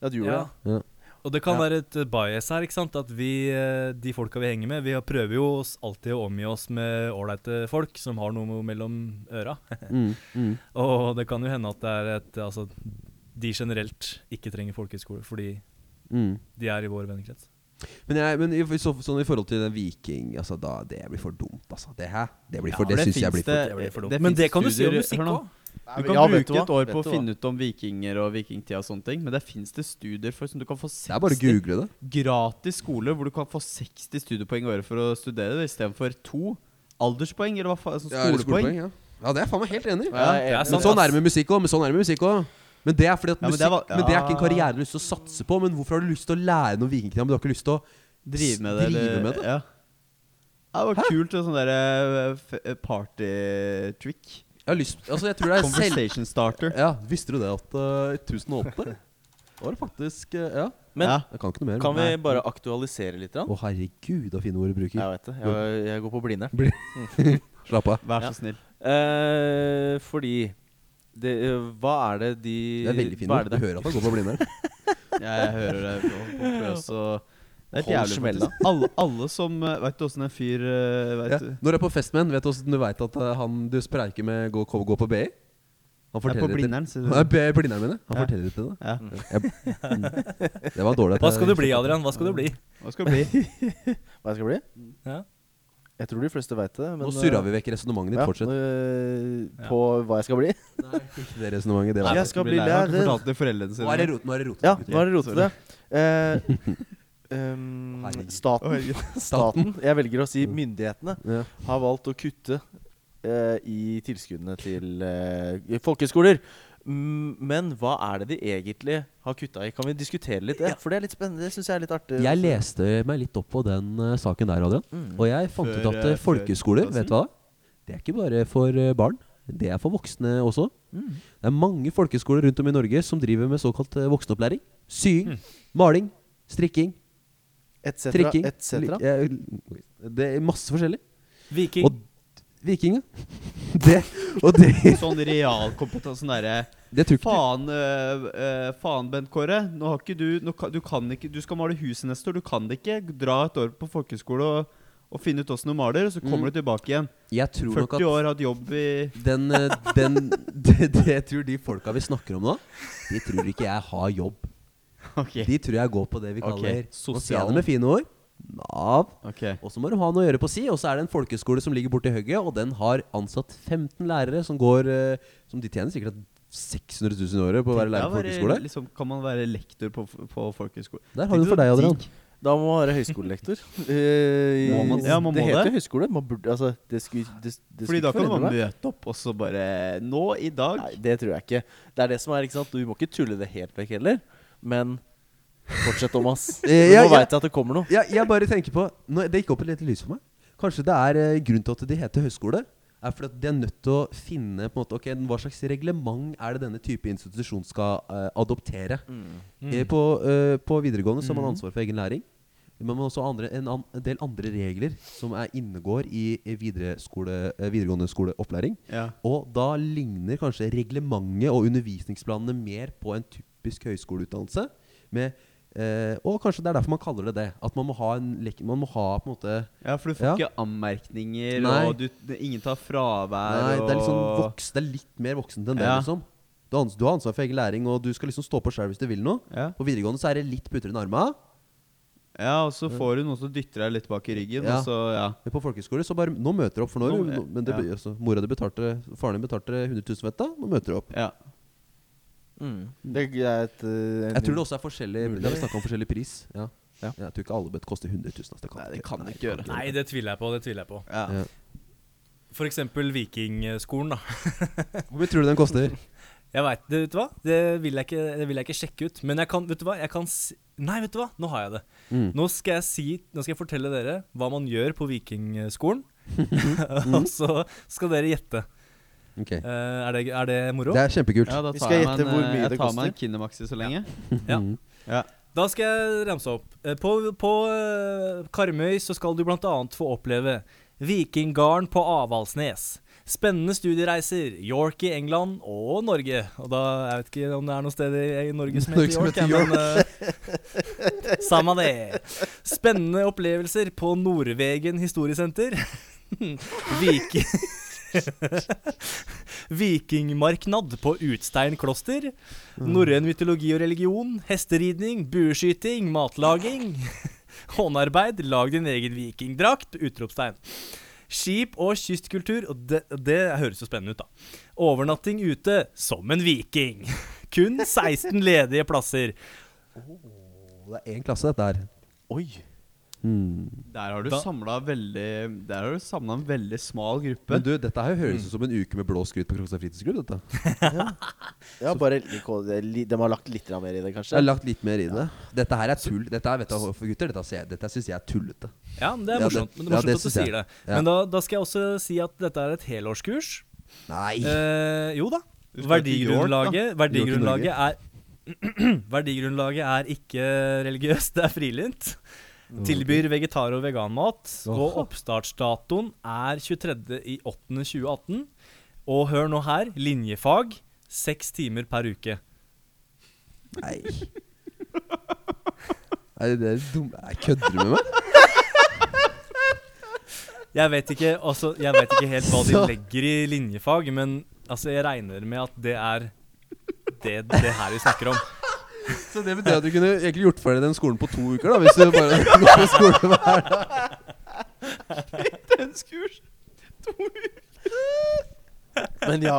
D: Ja, du gjorde
B: Ja.
A: Ja.
B: Og det kan
D: Ja.
B: være et eh, bias her, ikke sant? at vi, eh, de folka vi henger med, vi har- prøver jo oss alltid å omgi oss med ålreite folk som har noe mellom øra.
A: Mm, mm.
B: Og det kan jo hende at det er et Altså, de generelt ikke trenger folkehøyskole fordi
A: Mm.
B: de er i vår vennekrets.
A: Men, jeg, men i, så, sånn i forhold til den viking altså, da, Det blir for dumt, altså. Det her det blir for, det, synes jeg blir for
B: det blir for dumt. Men
C: finnes
B: det kan du si om
C: studier-
B: musikk
C: hør nå.
B: òg.
D: da.
C: Du kan bruke et år på å finne ut om vikinger og vikingtida og sånne ting, men det fins det studier for som du kan få
A: Det er bare å
C: 60
A: google det.
C: gratis skole hvor du kan få 60 studiepoeng i året for å studere det, istedenfor to alderspoeng, eller hva faen, sånn skolepoeng.
A: ja. ja, det er jeg faen meg helt enig i.
C: Ja,
B: det er
A: Men
B: sant.
A: sånn er
B: ass.
A: det med musikk òg. Men, sånn er det med musikk også. men det er fordi at
C: Ja, men
A: musikk
C: det er va-
A: Men det er ikke en
C: ja.
A: karriere du har lyst til å satse på. Men hvorfor har du lyst til å lære noe vikingtid? Men du har ikke lyst til å
C: Drive med det.
A: drive
C: eller-
A: med det?
C: Ja. Ja, det var kult. og Sånn derre f- eh, party trick.
A: Jeg har lyst Altså, jeg tror det er selv...
C: Conversation starter.
A: Ja, Visste du det at eh, i 1008 var det faktisk eh, Ja.
D: Men
C: ja.
A: Jeg kan ikke noe mer.
D: kan vi
A: Nei.
D: bare aktualisere litt? grann?
A: Å, herregud, så fine ord du bruker.
D: Jeg vet det. Jeg, jeg går på blinde. Mm.
A: Slapp av.
C: Vær
D: Ja.
C: så snill.
D: Eh, fordi det, eh, Hva er det de
A: Det er veldig fine
D: hva
A: ord.
D: er
A: Du
D: det det-
A: hører at han går på blinde.
C: Jeg, jeg hører det på, på pløs og det er
D: Hold
C: helt jævlig,
D: smella.
C: faktisk. Alle, alle som Veit du åssen en fyr eh, vet
A: Ja.
C: du?
A: Når du er på fest med en, vet du hvordan du veit at eh, han du spreiker med, går, går på BI? Han
C: Jeg er på
A: forteller etter
C: blinderen, sier
A: Nei,
C: du.
A: B- blinderen mine. Han
C: Ja.
A: forteller ikke det.
C: Ja.
A: Jeg, mm. det var dårlig. at
B: Hva
A: jeg
B: skal du
A: stoppet.
B: bli, Adrian? Hva skal du bli?
C: Hva skal det bli?
D: Hva jeg skal bli?
B: Ja.
D: Jeg tror de fleste veit det. Men, eh,
A: Nå surra vi vekk resonnementet ditt.
D: ja,
A: Fortsett.
D: eh,
B: Ja.
D: på hva jeg skal bli?
A: Det resonnementet, det
D: Nei,
A: var
D: jeg skal bli
C: lærer. Har ikke
D: lærer.
C: fortalt det til foreldrene sine.
A: Nå er det rot, nå er det rot.
D: Ja, nå er det rotete. Eh, um,
A: Herregud.
D: staten,
C: Oi,
D: staten, jeg velger å si myndighetene,
A: Ja.
D: har valgt å kutte eh, i tilskuddene til eh, folkehøyskoler. Mm, Men hva er det de egentlig har kutta i? Kan vi diskutere litt det? For det er litt spennende. Det syns jeg er litt artig.
A: Jeg leste meg litt opp på den eh, saken der, Adrian.
D: Mm.
A: Og jeg fant
C: Før,
A: ut at
C: eh,
A: eh, folkehøyskoler,
C: før
A: vet du hva? Det er ikke bare for eh, barn. Det er for voksne også.
D: Mm.
A: Det er mange folkehøyskoler rundt om i Norge som driver med såkalt eh, voksenopplæring.
C: Mm.
A: Sying, maling, strikking,
D: Et cetera,
A: trikking.
D: et cetera.
A: lik- eh, Det er masse forskjellig.
B: Viking.
A: Og vikinga. Det, og det,
C: Sånn realkompetanse sånn derre
A: det tror ikke
C: Faen, øh, øh, faen, Bent Kåre. Nå har ikke du, nå kan, du kan ikke Du skal male huset neste år. Du kan det ikke. Dra et år på folkehøyskole og, og finne ut åssen du maler, og så
A: Mm.
C: kommer du tilbake igjen.
A: Jeg tror nok
C: 40
A: at
C: år, hatt jobb i
A: den, eh, den det, det jeg tror de folka vi snakker om nå, de tror ikke jeg har jobb.
C: Ok.
A: De tror jeg går på det vi
C: Ok,
A: kaller Nå sier jeg
C: sosialen.
A: det med fine ord Nav.
C: Ok.
A: Og så må de ha noe å gjøre på si. Og så er det en folkeskole som ligger borti høyre, og den har ansatt 15 lærere som går eh, Som de tjener sikkert 600 000 i året på å være
C: Tenk deg
A: lærer på
C: være-
A: folkeskole.
C: Liksom, kan man være lektor på, f- på folkehøyskole?
A: Der har du for deg, Adrian.
D: Da må man være høyskolelektor. Eh,
C: Må man- ja, man
D: det
C: må
D: heter
C: det.
D: jo høyskole. Man burde, altså, det skulle, det, det
C: Fordi
D: skulle
C: da
D: ikke
C: kan man
D: forhindre deg.
C: møte opp, og så bare Nå, i dag
D: Nei, det tror jeg ikke. Det er det som er, ikke sant. Du må ikke tulle det helt vekk heller. Men fortsett, Thomas.
A: Eh, ja, ja.
D: Nå veit jeg at det kommer noe.
A: jeg, jeg bare tenker på nå, Det gikk opp et lite lys for meg. Kanskje det er eh, grunnen til at de heter høyskole, er fordi at de er nødt til å finne på en måte, ok, hva slags reglement er det denne type institusjon skal eh, adoptere.
D: Mm.
A: Eh, på, eh, på videregående så har man ansvar for egen læring. Men man har også andre, en, an, en del andre regler som er innegår i eh, videre skole, eh, videregående skoleopplæring.
C: ja.
A: Og da ligner kanskje reglementet og undervisningsplanene mer på en typisk høyskoleutdannelse. Med, eh, og kanskje det er derfor man kaller det det. At man må ha en lek... Man må ha på en måte
C: ja, for du får
A: Ja.
C: ikke anmerkninger,
A: Nei.
C: og du, ingen tar fravær
A: Nei, det er, liksom
C: og
A: voks, det er litt mer voksent enn det,
C: Ja.
A: liksom. Du har, ans du har ansvar for egen læring, og du skal liksom stå på sjøl hvis du vil noe.
C: ja.
A: På videregående så er det litt putter i arma.
C: Ja, og så får du noen som dytter deg litt bak i ryggen.
A: Mm. Ja.
C: Og så, ja.
A: Men på folkehøyskole så bare Nå møter du opp, for nå er
C: Nå-
A: du- nå- Men det,
C: ja.
A: blir- altså, mora di betalte Faren din betalte 100 000, vet du. Nå møter du opp.
C: ja.
D: Mm. Det er et eh,
A: Jeg tror det også er forskjellig
D: Mulig.
A: Det har vi snakket om forskjellig pris. Ja.
D: Ja.
A: Jeg tror ikke alle bøtt koster 100 000. ass. Det kan
C: Nei,
A: ikke-
C: det kan ikke gjøre.
B: Nei, det tviler jeg på. det tviler jeg på.
C: Ja.
A: Ja.
B: For eksempel Vikingskolen, da.
A: Hvor mye tror du den koster?
B: Jeg vet, det, vet du hva? Det vil, jeg ikke, det vil jeg ikke sjekke ut. Men jeg kan, vet du hva? Jeg kan si Nei, vet du hva? Nå har jeg det.
A: Mm.
B: Nå skal jeg si Nå skal jeg fortelle dere hva man gjør på Vikingskolen. Og så skal dere gjette.
A: Ok.
B: Eh, er, det, er det moro?
A: Det er kjempekult.
C: Ja, da
D: Vi
C: tar
D: skal
C: jeg,
D: gjette
C: meg en,
D: hvor
C: eh,
D: mye
C: jeg
D: det
C: tar meg en
D: koster.
C: Kinemaxi så lenge.
B: Ja.
A: Mhm.
C: Ja.
B: Da skal jeg ramse opp. Eh, På, på eh, Karmøy så skal du bl.a. få oppleve Vikinggarden på Avaldsnes. Spennende studiereiser. York i England og Norge. Og da, Jeg vet ikke om det er noe sted i i Norge som
A: Norge
B: heter
A: som
B: York,
A: heter
B: ja, men eh, Samme det. Spennende opplevelser på Nordvegen historiesenter. Viki... Vikingmarknad på Utstein kloster. Norrøn mytologi og religion, hesteridning, bueskyting, matlaging, håndarbeid, lag din egen vikingdrakt, utropstegn. Skip og kystkultur, og det, det høres jo spennende ut, da. Overnatting ute, som en viking. Kun 16 ledige plasser.
A: Det er én klasse, dette her.
D: Oi!
A: Mm.
C: Der har du
B: Da-
C: samla veldig Der har du samla en veldig smal gruppe.
A: Men du, dette her høres ut som en uke med blå skryt på Krokstad fritidsklubb. dette
D: Ja, bare, li- de har lagt litt grann mer i det, kanskje?
A: Jeg har lagt litt mer i det. Dette her er tull. Dette er, vet du, hva, for gutter, dette, ser jeg- dette syns jeg er tullete.
B: Ja, men det
A: Ja,
B: er
A: det-
B: morsomt, men
A: ja, det
B: det er morsomt at du
A: synes jeg.
B: sier det.
A: Ja.
B: Men da, da skal jeg også si at dette er et helårskurs.
A: Nei!
B: Eh, jo da.
C: Du skal til York, da.
B: Verdigrunnlaget, verdigrunnlaget er Verdigrunnlaget er ikke religiøst, det er frilynt.
C: Mm.
B: Tilbyr vegetar- og veganmat. Og oppstartsdatoen er 23.8.2018. Og hør nå her, linjefag seks timer per uke.
A: Nei. Nei, det er dumt. Nei, Kødder du med meg?
B: Jeg vet ikke, altså, jeg vet ikke helt hva de
D: Så-
B: legger i linjefag, men altså, jeg regner med at det er det, det her vi snakker om.
A: Så det betyr at du kunne egentlig gjort ferdig den skolen på to uker, da, hvis du bare går på skole hver dag.
C: Intenskurs!
D: Men ja,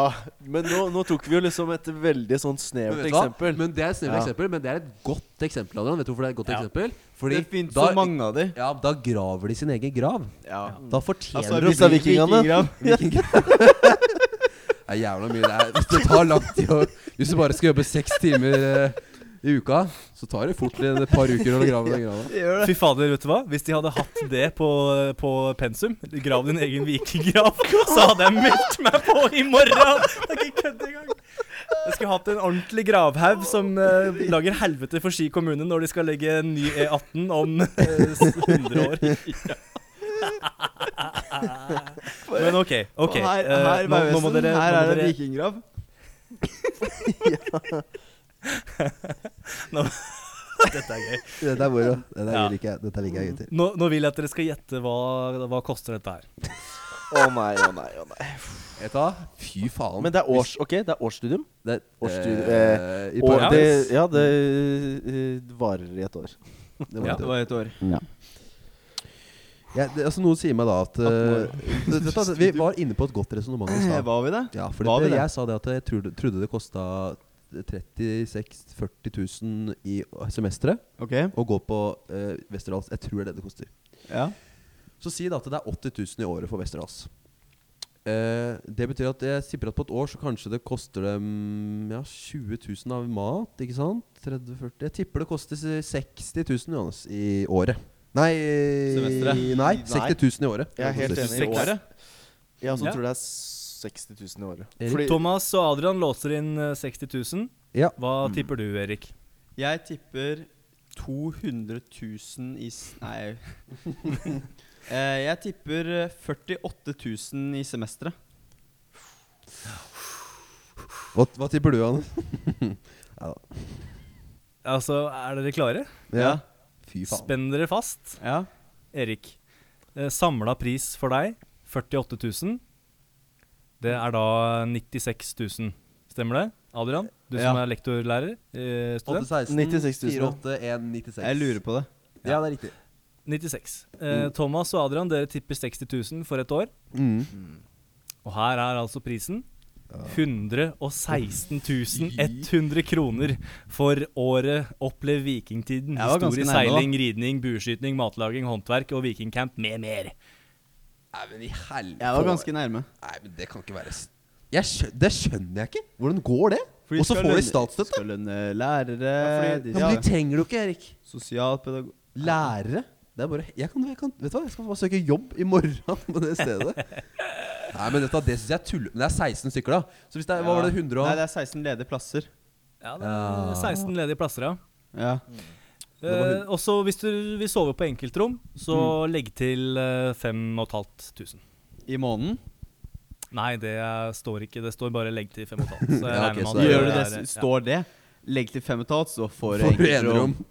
D: men nå, nå tok vi jo liksom et veldig sånn snevert eksempel.
A: Men det er et snevert
D: Ja.
A: eksempel, men det er et godt eksempel, Adrian. Vet du hvorfor det er et godt
B: Ja.
A: eksempel?
C: Det
A: Fordi
C: finnes så
A: da,
C: mange av de.
A: ja, da graver de sin egen grav.
C: Ja.
A: Da fortjener
C: Altså,
A: de å
D: Hvis det er
A: bli-
D: vikingene
A: Vikinggrav. Det er jævla mye. Det, er, det tar lang tid å Hvis du bare skal jobbe seks timer eh, i uka, så tar det fort en- et par uker å grave den grava.
B: Fy fader, vet du hva? Hvis de hadde hatt det på, på pensum, grav din egen vikinggrav, så hadde jeg meldt meg på i morgen! Det er ikke kødd engang. Jeg skulle hatt en ordentlig gravhaug som eh, lager helvete for Ski kommune når de skal legge en ny E18 om eh, s- 100 år. Men OK. ok.
C: Og Her,
B: eh,
C: her,
B: nå, nå må
C: Vegvesen,
B: dere,
C: her
B: nå må
C: er det
B: dere
C: en vikinggrav.
B: Dette er gøy.
A: Dette er moro. Dette
B: Ja.
A: liker jeg, dette liker jeg, gutter.
B: Nå, nå vil jeg at dere skal gjette hva, hva koster dette her.
D: Å nei, å nei, å nei.
A: Vet du hva? Fy faen.
D: Men det er års, ok, det er årsstudium.
A: Det er
D: Årsstudie-
A: eh, i
D: Og
A: Paris.
D: det, ja, det eh, varer i et år.
A: Det var
B: Ja.
A: det.
C: Det var et år.
A: Ja, det, altså, noen sier meg da at eh, vet du hva, Vi var inne på et godt resonnement i stad.
C: Var vi det?
A: Ja, for
C: Var vi
A: det,
C: det?
A: jeg sa det at jeg trodde, trodde det kosta 36 40 000 i semesteret
C: Ok.
A: å gå på eh, Westerdals. Jeg tror det er det det koster.
C: Ja.
A: Så si da at det er 80 000 i året for Westerdals. Eh, det betyr at jeg tipper at på et år så kanskje det koster dem ja, 20 000 av mat. Ikke sant? 30-40 Jeg tipper det koster s- 60 000 Johannes, i året. Nei,
C: Semesteret.
A: Nei,
D: Nei.
A: 60 000 i året.
D: Jeg er helt
A: Det koster.
D: enig. i
C: Seks.
D: året. Jeg også
B: Ja.
D: tror det er 60 000 i året.
A: Erik?
D: Fordi,
B: Thomas og Adrian låser inn eh, 60 000.
A: Ja.
B: Hva tipper du, Erik?
C: Jeg tipper 200 000 i s- Nei. Eh, jeg tipper eh, 48 000 i semesteret.
A: Hva, hva tipper du, Johannes? ja.
B: Altså, er dere klare?
A: ja. Fy faen.
B: Spenn dere fast.
C: Ja.
B: Erik, eh, samla pris for deg 48 000. Det er da 96 000. Stemmer det? Adrian, du som
C: Ja.
B: er lektorlærer? Eh, student?
A: 816,
D: 96 000.
A: 48, 196.
C: Jeg lurer på det.
A: Ja, det er riktig.
B: 96. Eh, Thomas og Adrian, dere tipper 60 000 for et år.
A: Mm.
B: Og her er altså prisen. 116 100 kroner for året Opplev vikingtiden.
C: Jeg var ganske
B: Historie,
C: nærme, da.
B: seiling, ridning, bueskyting, matlaging, håndverk og vikingcamp med mer.
A: Nei, men i helvete.
C: Jeg var ganske nærme.
A: Nei, men det kan ikke være s- jeg skjø- Det skjønner jeg ikke. Hvordan går det?
C: Fordi
A: Og så får
C: skal
A: de
C: lønne-
A: statsstøtte.
C: Skal lønne lærere
D: Ja, fordi-
C: de-
A: Ja, men de trenger du ikke, Erik.
C: Sosialpedagog...
A: Lærere. Det er bare jeg kan, jeg kan, Vet du hva, jeg skal bare søke jobb i morgen på det stedet. Nei, men dette, det syns jeg er tull... Men det er 16 stykker, da. Så hvis det er, hva var det, 100 og
C: Nei, det er 16 ledige plasser.
B: Ja, det
A: Ja.
B: er 16 ledige plasser, ja.
C: Ja.
A: Det var hun-
B: Eh, også hvis du vil sove på enkeltrom, så legg til eh, 5500.
C: I måneden.
B: Nei, det er- står ikke. Det står bare 'legg til 5500'.
A: Ja,
B: Så jeg
A: ok,
B: regner med
A: så
B: at
A: det er-
C: Gjør du
B: er-
C: det, s- står det. Legg til fem og et halvt, så får du
A: for
C: enkeltrom.
A: enerom.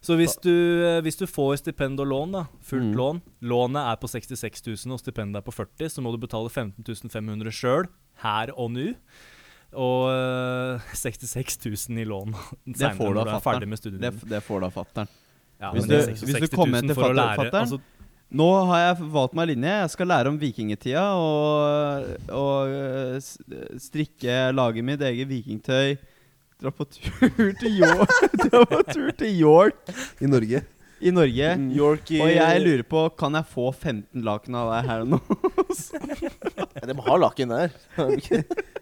B: Så hvis du, eh, hvis du får stipend og lån, da, fullt
A: Mm.
B: lån Lånet er på 66 000 og stipendet er på 40 000, så må du betale 15 500 sjøl her og nå. Og eh, 66 000 i lån
C: Det
B: senere
C: får du
B: når
C: av
B: du er ferdig
C: fatter'n.
B: med studiene.
C: Det, f- det får du av fatter'n.
B: Ja,
C: hvis
B: men det er
C: du- hvis du
B: 66 000
C: kommer til
B: for å
C: fatter-
B: lære-
C: fatteren,
B: altså,
C: Nå har jeg valgt meg linje. Jeg skal lære om vikingtida og, og øh, s- strikke, lage mitt eget vikingtøy. Dra på tur til York, dra på tur til York
A: I Norge.
C: i Norge.
D: Mm. York i
C: Og jeg lurer på, kan jeg få 15 laken av deg her og nå?
D: Ja, De har lakken der.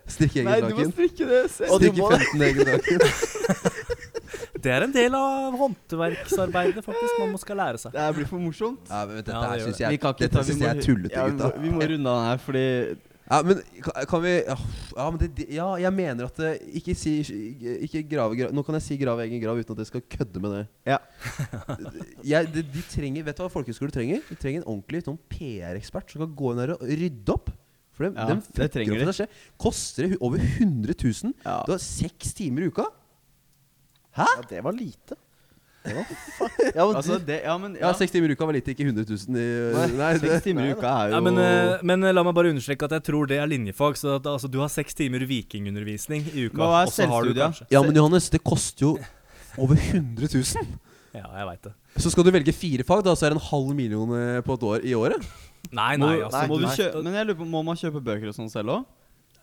A: Strikk
C: Nei,
A: egen
C: du må
A: laken.
C: strikke det selv.
D: Og du
A: Strikke
D: må
A: 15 egen laken.
B: det er en del av håndverksarbeidet, faktisk. Man må skal lære seg.
C: Det her blir for morsomt.
A: Ja, men vet, du,
B: Ja,
A: Dette
B: det
A: her
B: gjør
A: syns
C: det. Vi
A: jeg,
C: kan ikke ta-
A: dette
C: vi
A: synes
C: må-
A: jeg er tullete,
C: Ja, vi, må,
A: gutta.
C: vi må runde av den her, fordi
A: Ja, men kan, kan vi åh, Ja, men det, det- ja, jeg mener at det, Ikke si ikke grave, gra- Nå kan jeg si grav egen grav uten at jeg skal kødde med det.
C: Ja.
A: jeg, de, de trenger Vet du hva folkehøyskole trenger? De trenger en ordentlig sånn PR-ekspert som kan gå inn her og rydde opp. For dem,
C: Ja,
A: dem
C: det
A: flytter
C: trenger
A: opp
C: de.
A: for seg selv. Koster det hu- over 100 000?
C: Ja.
A: Du har seks timer i uka? Hæ?
D: Ja, det var lite. Det var fuck. Ja, men
C: Altså,
D: du-
C: det Ja, men
A: Ja, seks timer i uka var lite, ikke 100 000 i Nei,
C: Seks timer i uka er jo
B: Ja, men, eh, men eh, la meg bare understreke at jeg tror det er linjefag. Så at, altså, du har seks timer vikingundervisning i uka.
C: Men hva er
B: og så har du
C: selvstudier?
B: kanskje-
A: Ja, men Johannes, det koster jo over 100 000.
B: Ja, jeg vet det.
A: Så skal du velge fire fag, da, så er det en halv million eh, på et år i året?
B: Nei,
C: må,
B: nei, altså.
D: nei,
C: må du
D: nei.
C: kjø Men jeg lurer på, må man kjøpe bøker og sånn selv òg?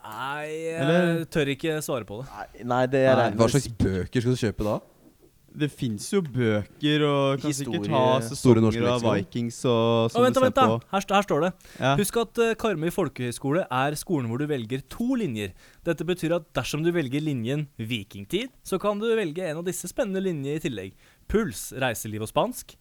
B: Nei,
C: Eller-
B: jeg tør ikke svare på det.
D: Nei, nei, det er
A: Nei, hva slags bøker skal du kjøpe da?
C: Det fins jo bøker og kan sikkert ta
D: Historie-
A: Store norske
C: sesonger av
A: leksikon.
C: Vikings
B: Å,
C: og sånn
B: vent, da, vent, da.
C: på.
B: Her, st- her står det.
C: Ja.
B: Husk at eh, Karmøy folkehøgskole er skolen hvor du velger to linjer. Dette betyr at dersom du velger linjen vikingtid, så kan du velge en av disse spennende linjene i tillegg. Puls, reiseliv og spansk.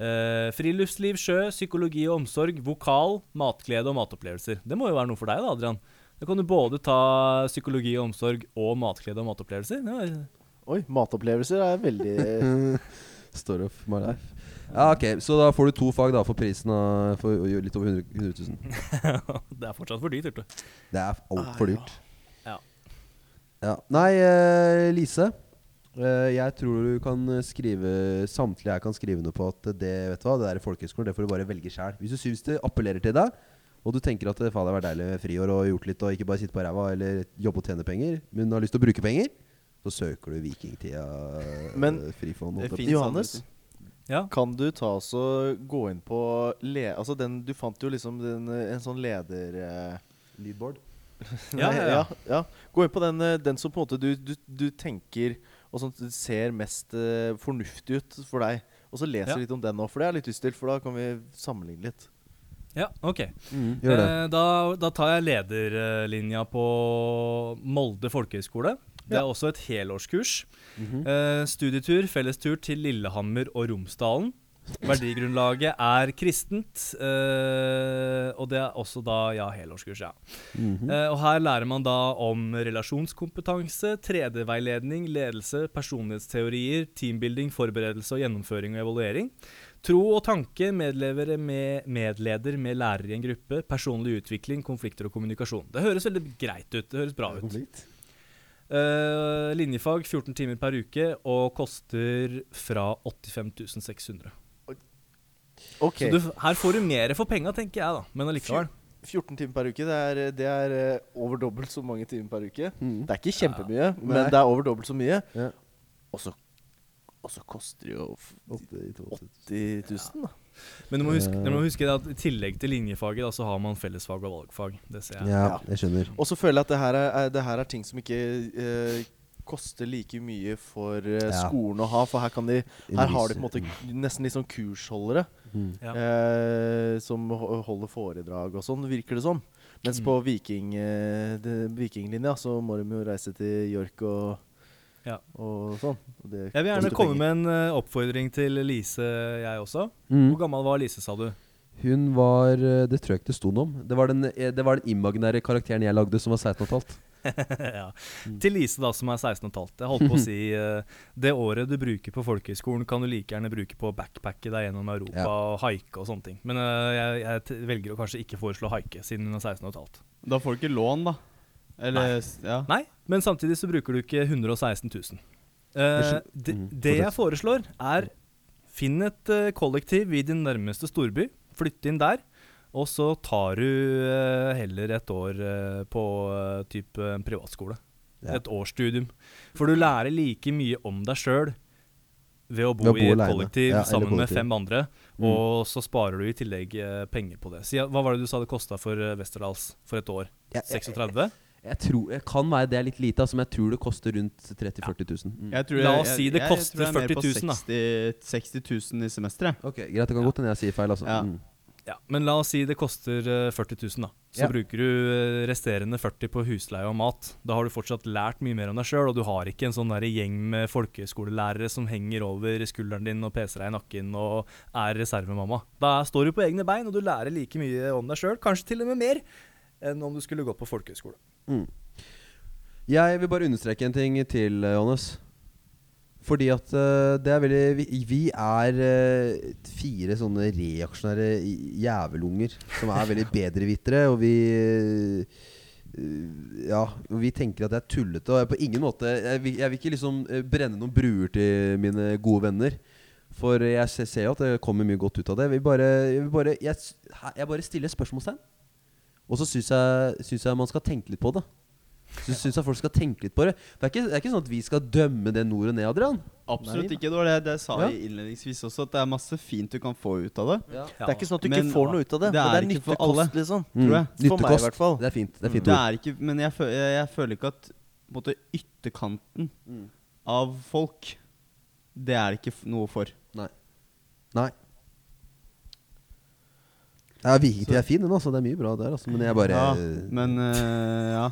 B: eh, friluftsliv, sjø, psykologi og omsorg, vokal, matglede og matopplevelser. Det må jo være noe for deg, da, Adrian. Da kan du både ta psykologi og omsorg og matglede og matopplevelser. Det var-
D: Oi, matopplevelser er veldig
A: Story of my life. Ja, ok, Så da får du to fag da for prisen av for jo- litt over 100 000.
B: det er fortsatt for dyrt, vet du.
A: Det er altfor dyrt.
B: Ja.
A: Ja. Nei, eh, Lise. eh, jeg tror du kan skrive samtlige her kan skrive noe på at det vet du hva, det der i folkehøyskolen det får du bare velge sjæl. Hvis du syns det appellerer til deg, og du tenker at det faen, det hadde vært deilig med friår og gjort litt og ikke bare sitte på ræva eller jobbe og tjene penger, men har lyst til å bruke penger, så søker du vikingtida eh,
D: Men-
A: frifond. holdt jeg
C: Det
A: på å si.
C: finnes
D: Johannes?
C: andre ting.
B: Ja.
D: Kan du ta oss og gå inn på le... Altså, den Du fant jo liksom den, eh, en sånn leder... eh,
A: Leadboard.
B: Ja,
D: Nei,
B: ja, ja.
D: ja. Gå inn på den, eh, den som på en måte du, du, du tenker og som ser mest eh, fornuftig ut for deg. Og så leser
B: Ja.
D: litt om den nå, for det har jeg litt lyst til. For da kan vi sammenligne litt.
B: ja, ok.
A: Gjør det.
B: Eh, Da, da tar jeg lederlinja på Molde folkehøgskole. Det er også et helårskurs.
A: Mhm.
B: eh, studietur, fellestur til Lillehammer og Romsdalen. Verdigrunnlaget er kristent, eh, og det er også da ja, helårskurs, ja. Eh, og her lærer man da om relasjonskompetanse, 3D-veiledning, ledelse, personlighetsteorier, teambuilding, forberedelse og gjennomføring og evaluering. Tro og tanke, medlevere med medleder med lærere i en gruppe, personlig utvikling, konflikter og kommunikasjon. Det høres veldig greit ut. Det høres bra ut. Eh, linjefag 14 timer per uke og koster fra 85 600.
D: Ok,
B: Så du, her får du mer for penga, tenker jeg, da. Men allikevel.
D: 14 timer per uke, det er, det er eh, over dobbelt så mange timer per uke.
A: Mhm.
D: Det er ikke kjempemye, men
A: Nei.
D: det er over dobbelt så mye.
A: Ja.
D: Og så og så koster det jo f-
A: Åtte i to.
D: 80 000, da.
B: Men du må huske,
A: Eh.
B: du må huske det at i tillegg til linjefaget da, så har man fellesfag og valgfag. Det ser jeg.
A: Ja, jeg skjønner.
D: Og så føler jeg at det her er, er, det her er ting som ikke eh, koster like mye for eh,
A: Ja.
D: skolen å ha, for her, kan de, her har de på en måte nesten litt sånn kursholdere
A: Mm.
B: Ja.
D: eh, som ho- holder foredrag og sånn, virker det som. Mens
B: Mm.
D: på viking, eh, det- vikinglinja så må de jo reise til York og,
B: Ja.
D: og sånn. Og det
B: Jeg vil
D: koster
B: gjerne komme
D: penger.
B: med en eh, oppfordring til Lise, jeg også.
A: Mm.
B: Hvor gammel var Lise, sa du?
A: Hun var eh, Det tror jeg ikke det sto noe om. Det var den, eh, det var den imaginære karakteren jeg lagde, som var 16 15.
B: ja.
A: Mm.
B: Til Lise, da, som er 16 15. Jeg holdt på å si eh, det året du bruker på folkehøyskolen, kan du like gjerne bruke på å backpacke deg gjennom Europa og haike og sånne ting. Men eh, jeg, jeg t- velger å kanskje ikke foreslå haike, siden hun er 16 15.
C: Da får du ikke lån, da. Eller s- ja.
B: Nei, men samtidig så bruker du ikke 116 000. Eh, det,
A: Mm,
B: det
A: fortsett.
B: jeg foreslår, er finn et eh, kollektiv i din nærmeste storby, flytt inn der, og så tar du eh, heller et år eh, på eh, typ eh, en privatskole.
A: Ja.
B: Et årsstudium. For du lærer like mye om deg sjøl ved å bo,
A: Ved å bo
B: i et
A: alene.
B: kollektiv
A: Ja, eller
B: sammen med
A: kollektiv.
B: fem andre,
A: Mm.
B: og så sparer du i tillegg eh, penger på det. Så, ja, hva var det du sa det kosta for eh, Westerdals for et år?
A: Jeg, jeg,
B: 36?
A: jeg tror, jeg kan være det er litt lite, altså, men jeg tror det koster rundt 30 000-40 000. Mm.
C: Jeg
B: La
C: tror jeg-
B: oss
C: jeg-
B: si det
C: jeg
B: koster
C: tror jeg er mer
B: 40 000, da.
C: på 60, 60 000 i semesteret.
A: Ok, Greit, det kan godt hende jeg sier feil. Altså.
C: Ja.
A: Mm.
B: Ja, Men la oss si det koster eh, 40 000, da. Så
A: Ja.
B: bruker du eh, resterende 40 på husleie og mat. Da har du fortsatt lært mye mer om deg sjøl, og du har ikke en sånn der gjeng med folkehøyskolelærere som henger over skulderen din og peser deg i nakken og er reservemamma. Da står du på egne bein, og du lærer like mye om deg sjøl, kanskje til og med mer, enn om du skulle gått på folkehøyskole.
A: Mm. Jeg vil bare understreke en ting til, eh, Johannes. Fordi at eh, det er veldig Vi, vi er eh, fire sånne reaksjonære j- jævelunger som er veldig bedrevitere, og vi eh, ja, og vi tenker at det er tullete. Og jeg, på ingen måte jeg vil, jeg vil ikke liksom eh, brenne noen bruer til mine gode venner. For jeg se- ser jo at det kommer mye godt ut av det. Jeg vil bare, jeg vil bare, jeg, s- her- jeg bare stiller spørsmålstegn. Og så syns jeg, syns jeg man skal tenke litt på det. Så syns jeg folk skal tenke litt på det. Det er ikke, det er ikke sånn at vi skal dømme det nord og ned, Adrian.
C: Absolutt
A: Nei,
C: ikke. Det var det, det jeg sa
A: Ja.
C: jeg innledningsvis også, at det er masse fint du kan få ut av det.
D: Det er ikke sånn at du
C: Men-
D: ikke får noe ut av
C: Det
D: det, men det
C: er
D: er
C: ikke for
D: nyttig
C: alle.
D: kost, liksom.
C: Mm.
A: Mm.
C: Tror jeg.
D: For meg i hvert fall.
A: Det er fint. Det er fint
C: Mm. Det
A: ord.
C: er ikke, men jeg, føl, jeg, jeg føler ikke at på en måte, ytterkanten
A: Mm.
C: av folk Det er det ikke f- noe for.
A: Nei. Nei. Ja, Vikingtid er fin, den. Altså. Det er mye bra der, altså. Men jeg bare
C: ja, men eh, ja.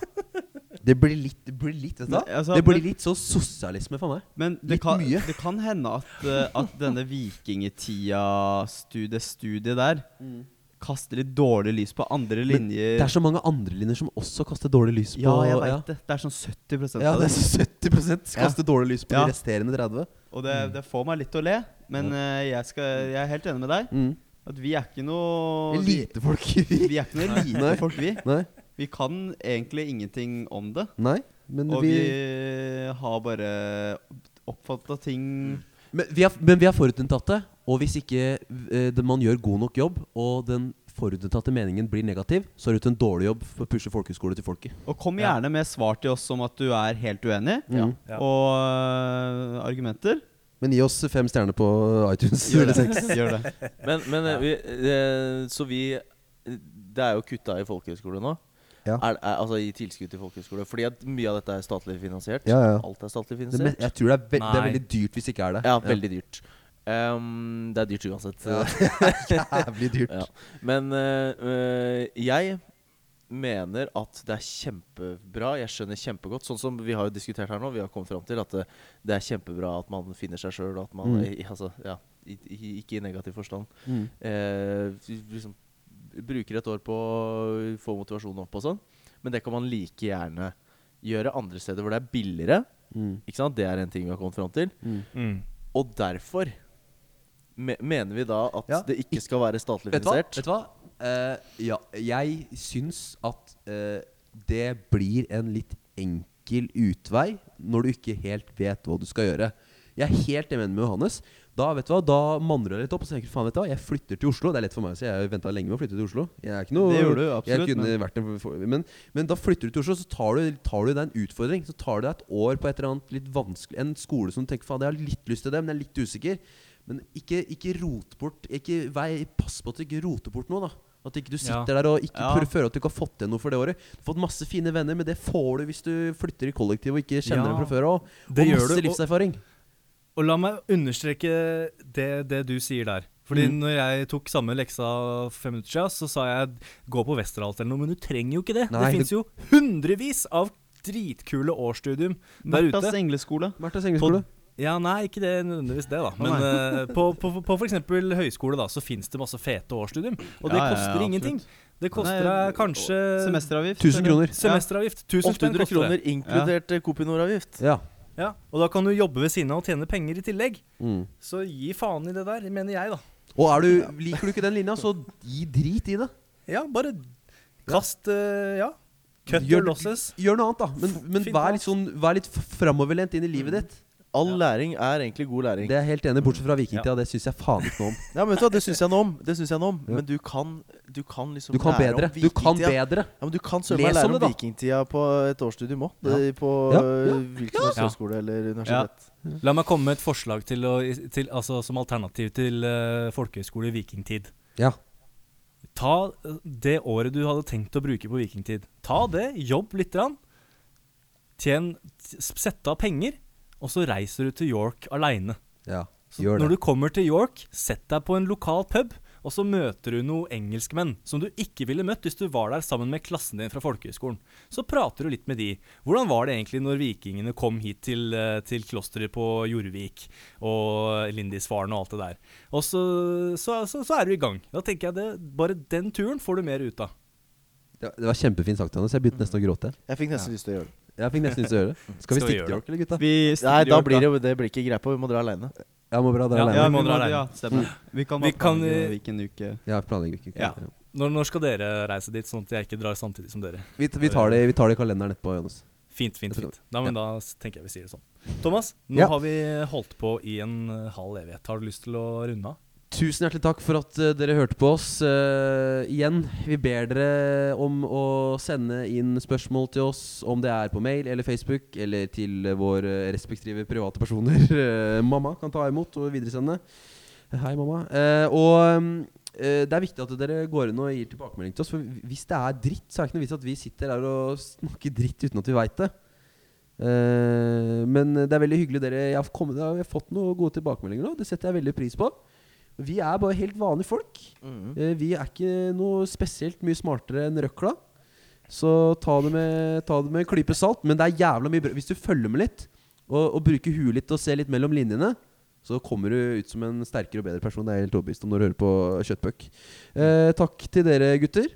A: Det blir litt Det blir litt, vet du hva?
C: Men, altså,
A: Det blir
C: men-
A: litt sånn sosialisme for meg.
C: Men det
A: Litt
C: kan,
A: mye.
C: det kan hende at, eh, at denne vikingetida-studiet studiet der kaster litt dårlig lys på andre
A: Men
C: linjer.
A: Det er så mange andre linjer som også kaster dårlig lys på
C: ja, jeg veit det. Det er sånn 70
A: Ja,
C: av
A: det er så 70 kaster dårlig lys på
C: Ja.
A: de resterende 30.
C: Og det, det får meg litt til å le, men eh, jeg, skal, jeg er helt enig med deg.
A: Mm.
C: At vi er ikke noe vi,
A: Elitefolk. folk
C: vi er ikke noe lite
A: Nei.
C: folk, vi.
A: Nei.
C: Vi kan egentlig ingenting om det.
A: Nei. Men
C: Og
A: vi,
C: vi har bare oppfatta ting
A: men, vi er, men vi er forutinntatte. Og hvis ikke eh, det- man gjør god nok jobb, og den forutinntatte meningen blir negativ, så har du gjort en dårlig jobb for å pushe folkehøyskole til folket.
C: Og kom
B: Ja.
C: gjerne med svar til oss om at du er helt uenig,
A: Mm. Ja.
B: Ja.
C: og øh, argumenter.
A: Men gi oss fem stjerner på iTunes.
C: Gjør
A: eller
C: det.
A: seks.
C: Gjør det.
D: Men, men eh, vi, eh, så vi Det er jo kutta i folkehøyskole nå.
A: Ja.
D: Er, er, altså i tilskudd til folkehøyskole. Fordi at mye av dette er statlig finansiert.
A: Ja, ja.
D: Alt er statlig
A: Det, me-
D: finansiert.
A: jeg tror det er, ve det er
B: Nei.
A: veldig dyrt hvis det ikke er det.
D: ja, veldig dyrt. Ehm, det er dyrt uansett.
A: Jævlig dyrt.
D: Ja. Men eh, eh, jeg mener at det er kjempebra. Jeg skjønner kjempegodt. Sånn som vi har jo diskutert her nå, vi har kommet fram til at det, det er kjempebra at man finner seg sjøl, og at man
A: Mm.
D: i- altså, ja, i, i, Ikke i negativ forstand.
A: Mm.
D: Eh, liksom, bruker et år på å få motivasjonen opp og sånn. Men det kan man like gjerne gjøre andre steder hvor det er billigere.
A: Mm.
D: Ikke sant? Det er en ting vi har kommet fram til.
A: Mm.
B: Mm.
D: Og derfor me mener vi da at
A: Ja.
D: det ikke skal være statlig
A: Vet du hva?
D: finansiert.
A: Vet du hva? Eh, ja, jeg syns at eh, det blir en litt enkel utvei når du ikke helt vet hva du skal gjøre. Jeg er helt enig med Johannes. Da vet du hva, da manner jeg litt opp og så tenker jeg, faen vet du hva, jeg flytter til Oslo. Det er lett for meg å si, jeg har venta lenge med å flytte til Oslo. Jeg er ikke noe,
C: Det gjorde du, absolutt,
A: Jeg kunne vært en, for- men, men da flytter du til Oslo, så tar du, tar du deg en utfordring. Så tar du deg et år på et eller annet litt vanskelig En skole som du tenker faen, jeg har litt lyst til det, men jeg er litt usikker. Men ikke, ikke rot bort ikke, vei, Pass på at du ikke roter bort noe, da. At ikke du sitter
E: Ja.
A: der og ikke
C: Ja.
A: prøver- føler at du ikke har fått til noe for det året. Du har fått masse fine venner, men det får du hvis du flytter i kollektiv og ikke kjenner
B: Ja.
A: dem fra før av. Og
B: Det gjør
A: masse
B: du, og-
A: livserfaring.
B: Og la meg understreke det, det du sier der. Fordi
A: Mm.
B: når jeg tok samme leksa for fem minutter siden, så sa jeg gå på Westerdals eller noe, men du trenger jo ikke det.
A: Nei,
B: det fins jo hundrevis av dritkule årsstudium der ute.
C: Marthas engleskole.
A: Marthas engelskskole.
B: Ja, nei, ikke det nødvendigvis det, da.
C: Å, nei.
B: Men eh, på, på, på f.eks. høyskole da, så fins det masse fete årsstudium, og det
C: Ja, ja, ja,
B: koster
C: absolutt.
B: ingenting. Det koster
C: Nei,
B: deg kanskje
C: Semesteravgift.
A: 1000
C: eller?
A: kroner.
B: semesteravgift. 1000 spenn koster
D: 800
B: det.
D: kroner inkludert eh, Kopinor-avgift.
A: Ja.
B: Ja, og da kan du jobbe ved siden av og tjene penger i tillegg.
A: Mm.
B: Så gi faen i det der, mener jeg, da.
A: Og er du, liker du ikke den linja, så gi drit i det.
B: Ja, bare kast eh, Ja. Cut
A: Gjør
B: your
A: det-
B: losses.
A: Gjør noe annet, da. Men, men
B: Finn på
A: vær litt, sånn, vær litt f- framoverlent inn i livet ditt.
D: All læring er egentlig god læring.
A: Det er jeg helt enig, bortsett fra vikingtida. Det syns jeg faen ikke noe om.
D: Ja, men vet du hva, Det syns jeg noe om. Det synes jeg noe om
A: Ja.
D: Men du kan, du kan liksom
A: Du kan
D: lære om
A: bedre. Du kan
D: vikingtida.
A: bedre.
D: Ja, men du kan søren meg
A: Les om
D: lære om
A: det, da.
D: vikingtida på et årsstudium òg. På
A: Ja.
D: øh, hvilken som helst
B: Ja.
D: høyskole eller universitet.
B: La meg komme med et forslag til å, til, altså, som alternativ til eh, folkehøyskole i vikingtid.
A: Ja.
B: Ta eh, det året du hadde tenkt å bruke på vikingtid. Ta det, jobb litt. Grann. Tjen, s- sett av penger, og så reiser du til York aleine.
A: ja.
B: Så
A: Gjør
B: Når
A: det.
B: du kommer til York, sett deg på en lokal pub, og så møter du noen engelskmenn som du ikke ville møtt hvis du var der sammen med klassen din fra folkehøyskolen. Så prater du litt med de. Hvordan var det egentlig når vikingene kom hit til, eh, til klosteret på Jorvik og Lindisfaren og alt det der? Og så, så, så, så er du i gang. Da tenker jeg det, bare den turen får du mer ut av.
A: Det var- det var kjempefint sagt, Anders. Jeg begynte nesten å gråte.
D: Jeg fikk nesten lyst til å gjøre det.
A: Jeg fikk nesten lyst til å gjøre det. Skal vi
B: Skal vi
A: stikke
B: gjøre
A: til York, eller gutta?
C: Vi
D: Nei, da blir det, jo- det blir ikke greia på. Vi må dra aleine.
A: Ja, må bra, det er
B: Ja,
A: alene.
C: ja,
B: vi
C: vi
B: må
C: må,
B: dra alene.
C: ja, stemmer.
A: Mm.
C: Vi kan
B: Vi
C: bare
B: kan,
C: planlegge
B: eh,
C: hvilken uke.
A: Ja, planlegger ikke.
C: Ja.
B: Når, når skal dere reise dit, sånn at jeg ikke drar samtidig som dere?
A: Vi, vi, tar det, vi tar det i kalenderen etterpå, Jonas.
B: Fint, fint, fint. Da, men da s- tenker jeg vi sier det sånn. Thomas, nå
A: Ja.
B: har vi holdt på i en eh, halv evighet. Har du lyst til å runde av?
A: Tusen hjertelig takk for at eh, dere hørte på oss. Eh, igjen, vi ber dere om å sende inn spørsmål til oss, om det er på mail eller Facebook, eller til eh, våre respektive private personer. Eh, mamma kan ta imot og videresende. Hei, mamma. Eh, og mm, eh, det er viktig at dere går inn og gir tilbakemelding til oss, for hvis det er dritt, så er det ikke noe vits at vi sitter der og snakker dritt uten at vi veit det. Eh, men det er veldig hyggelig dere Jeg har, kommet, jeg har fått noen gode tilbakemeldinger nå. Det setter jeg veldig pris på. Vi er bare helt vanlige folk.
C: Mm.
A: Eh, Vi er ikke noe spesielt mye smartere enn røkla. Så ta det med, ta det med en klype salt. Men det er jævla mye bra. Hvis du følger med litt, og, og bruker huet litt og ser litt mellom linjene, så kommer du ut som en sterkere og bedre person. Det er jeg helt overbevist om når du hører på Kjøttbøk. Eh, takk til dere, gutter.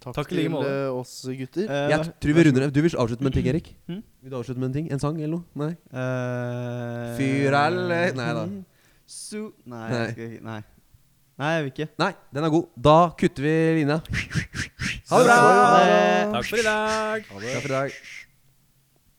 D: Takk,
B: Takk i like
D: til
B: måte.
D: eh, oss gutter.
C: Eh,
A: Jeg tror vi runder av. Du vil avslutte med en ting, Erik?
C: Mm.
A: Vil du avslutte med en ting? En sang eller noe? Nei?
C: eh, hmm.
A: Fyr eller- Nei da.
C: Su nei,
A: Nei.
C: Jeg skal, ikke- nei. nei, jeg vil ikke.
A: Nei, den er god. Da kutter vi linja. Ha det bra!
C: Ha det.
B: Takk for i dag!
A: Takk for i dag.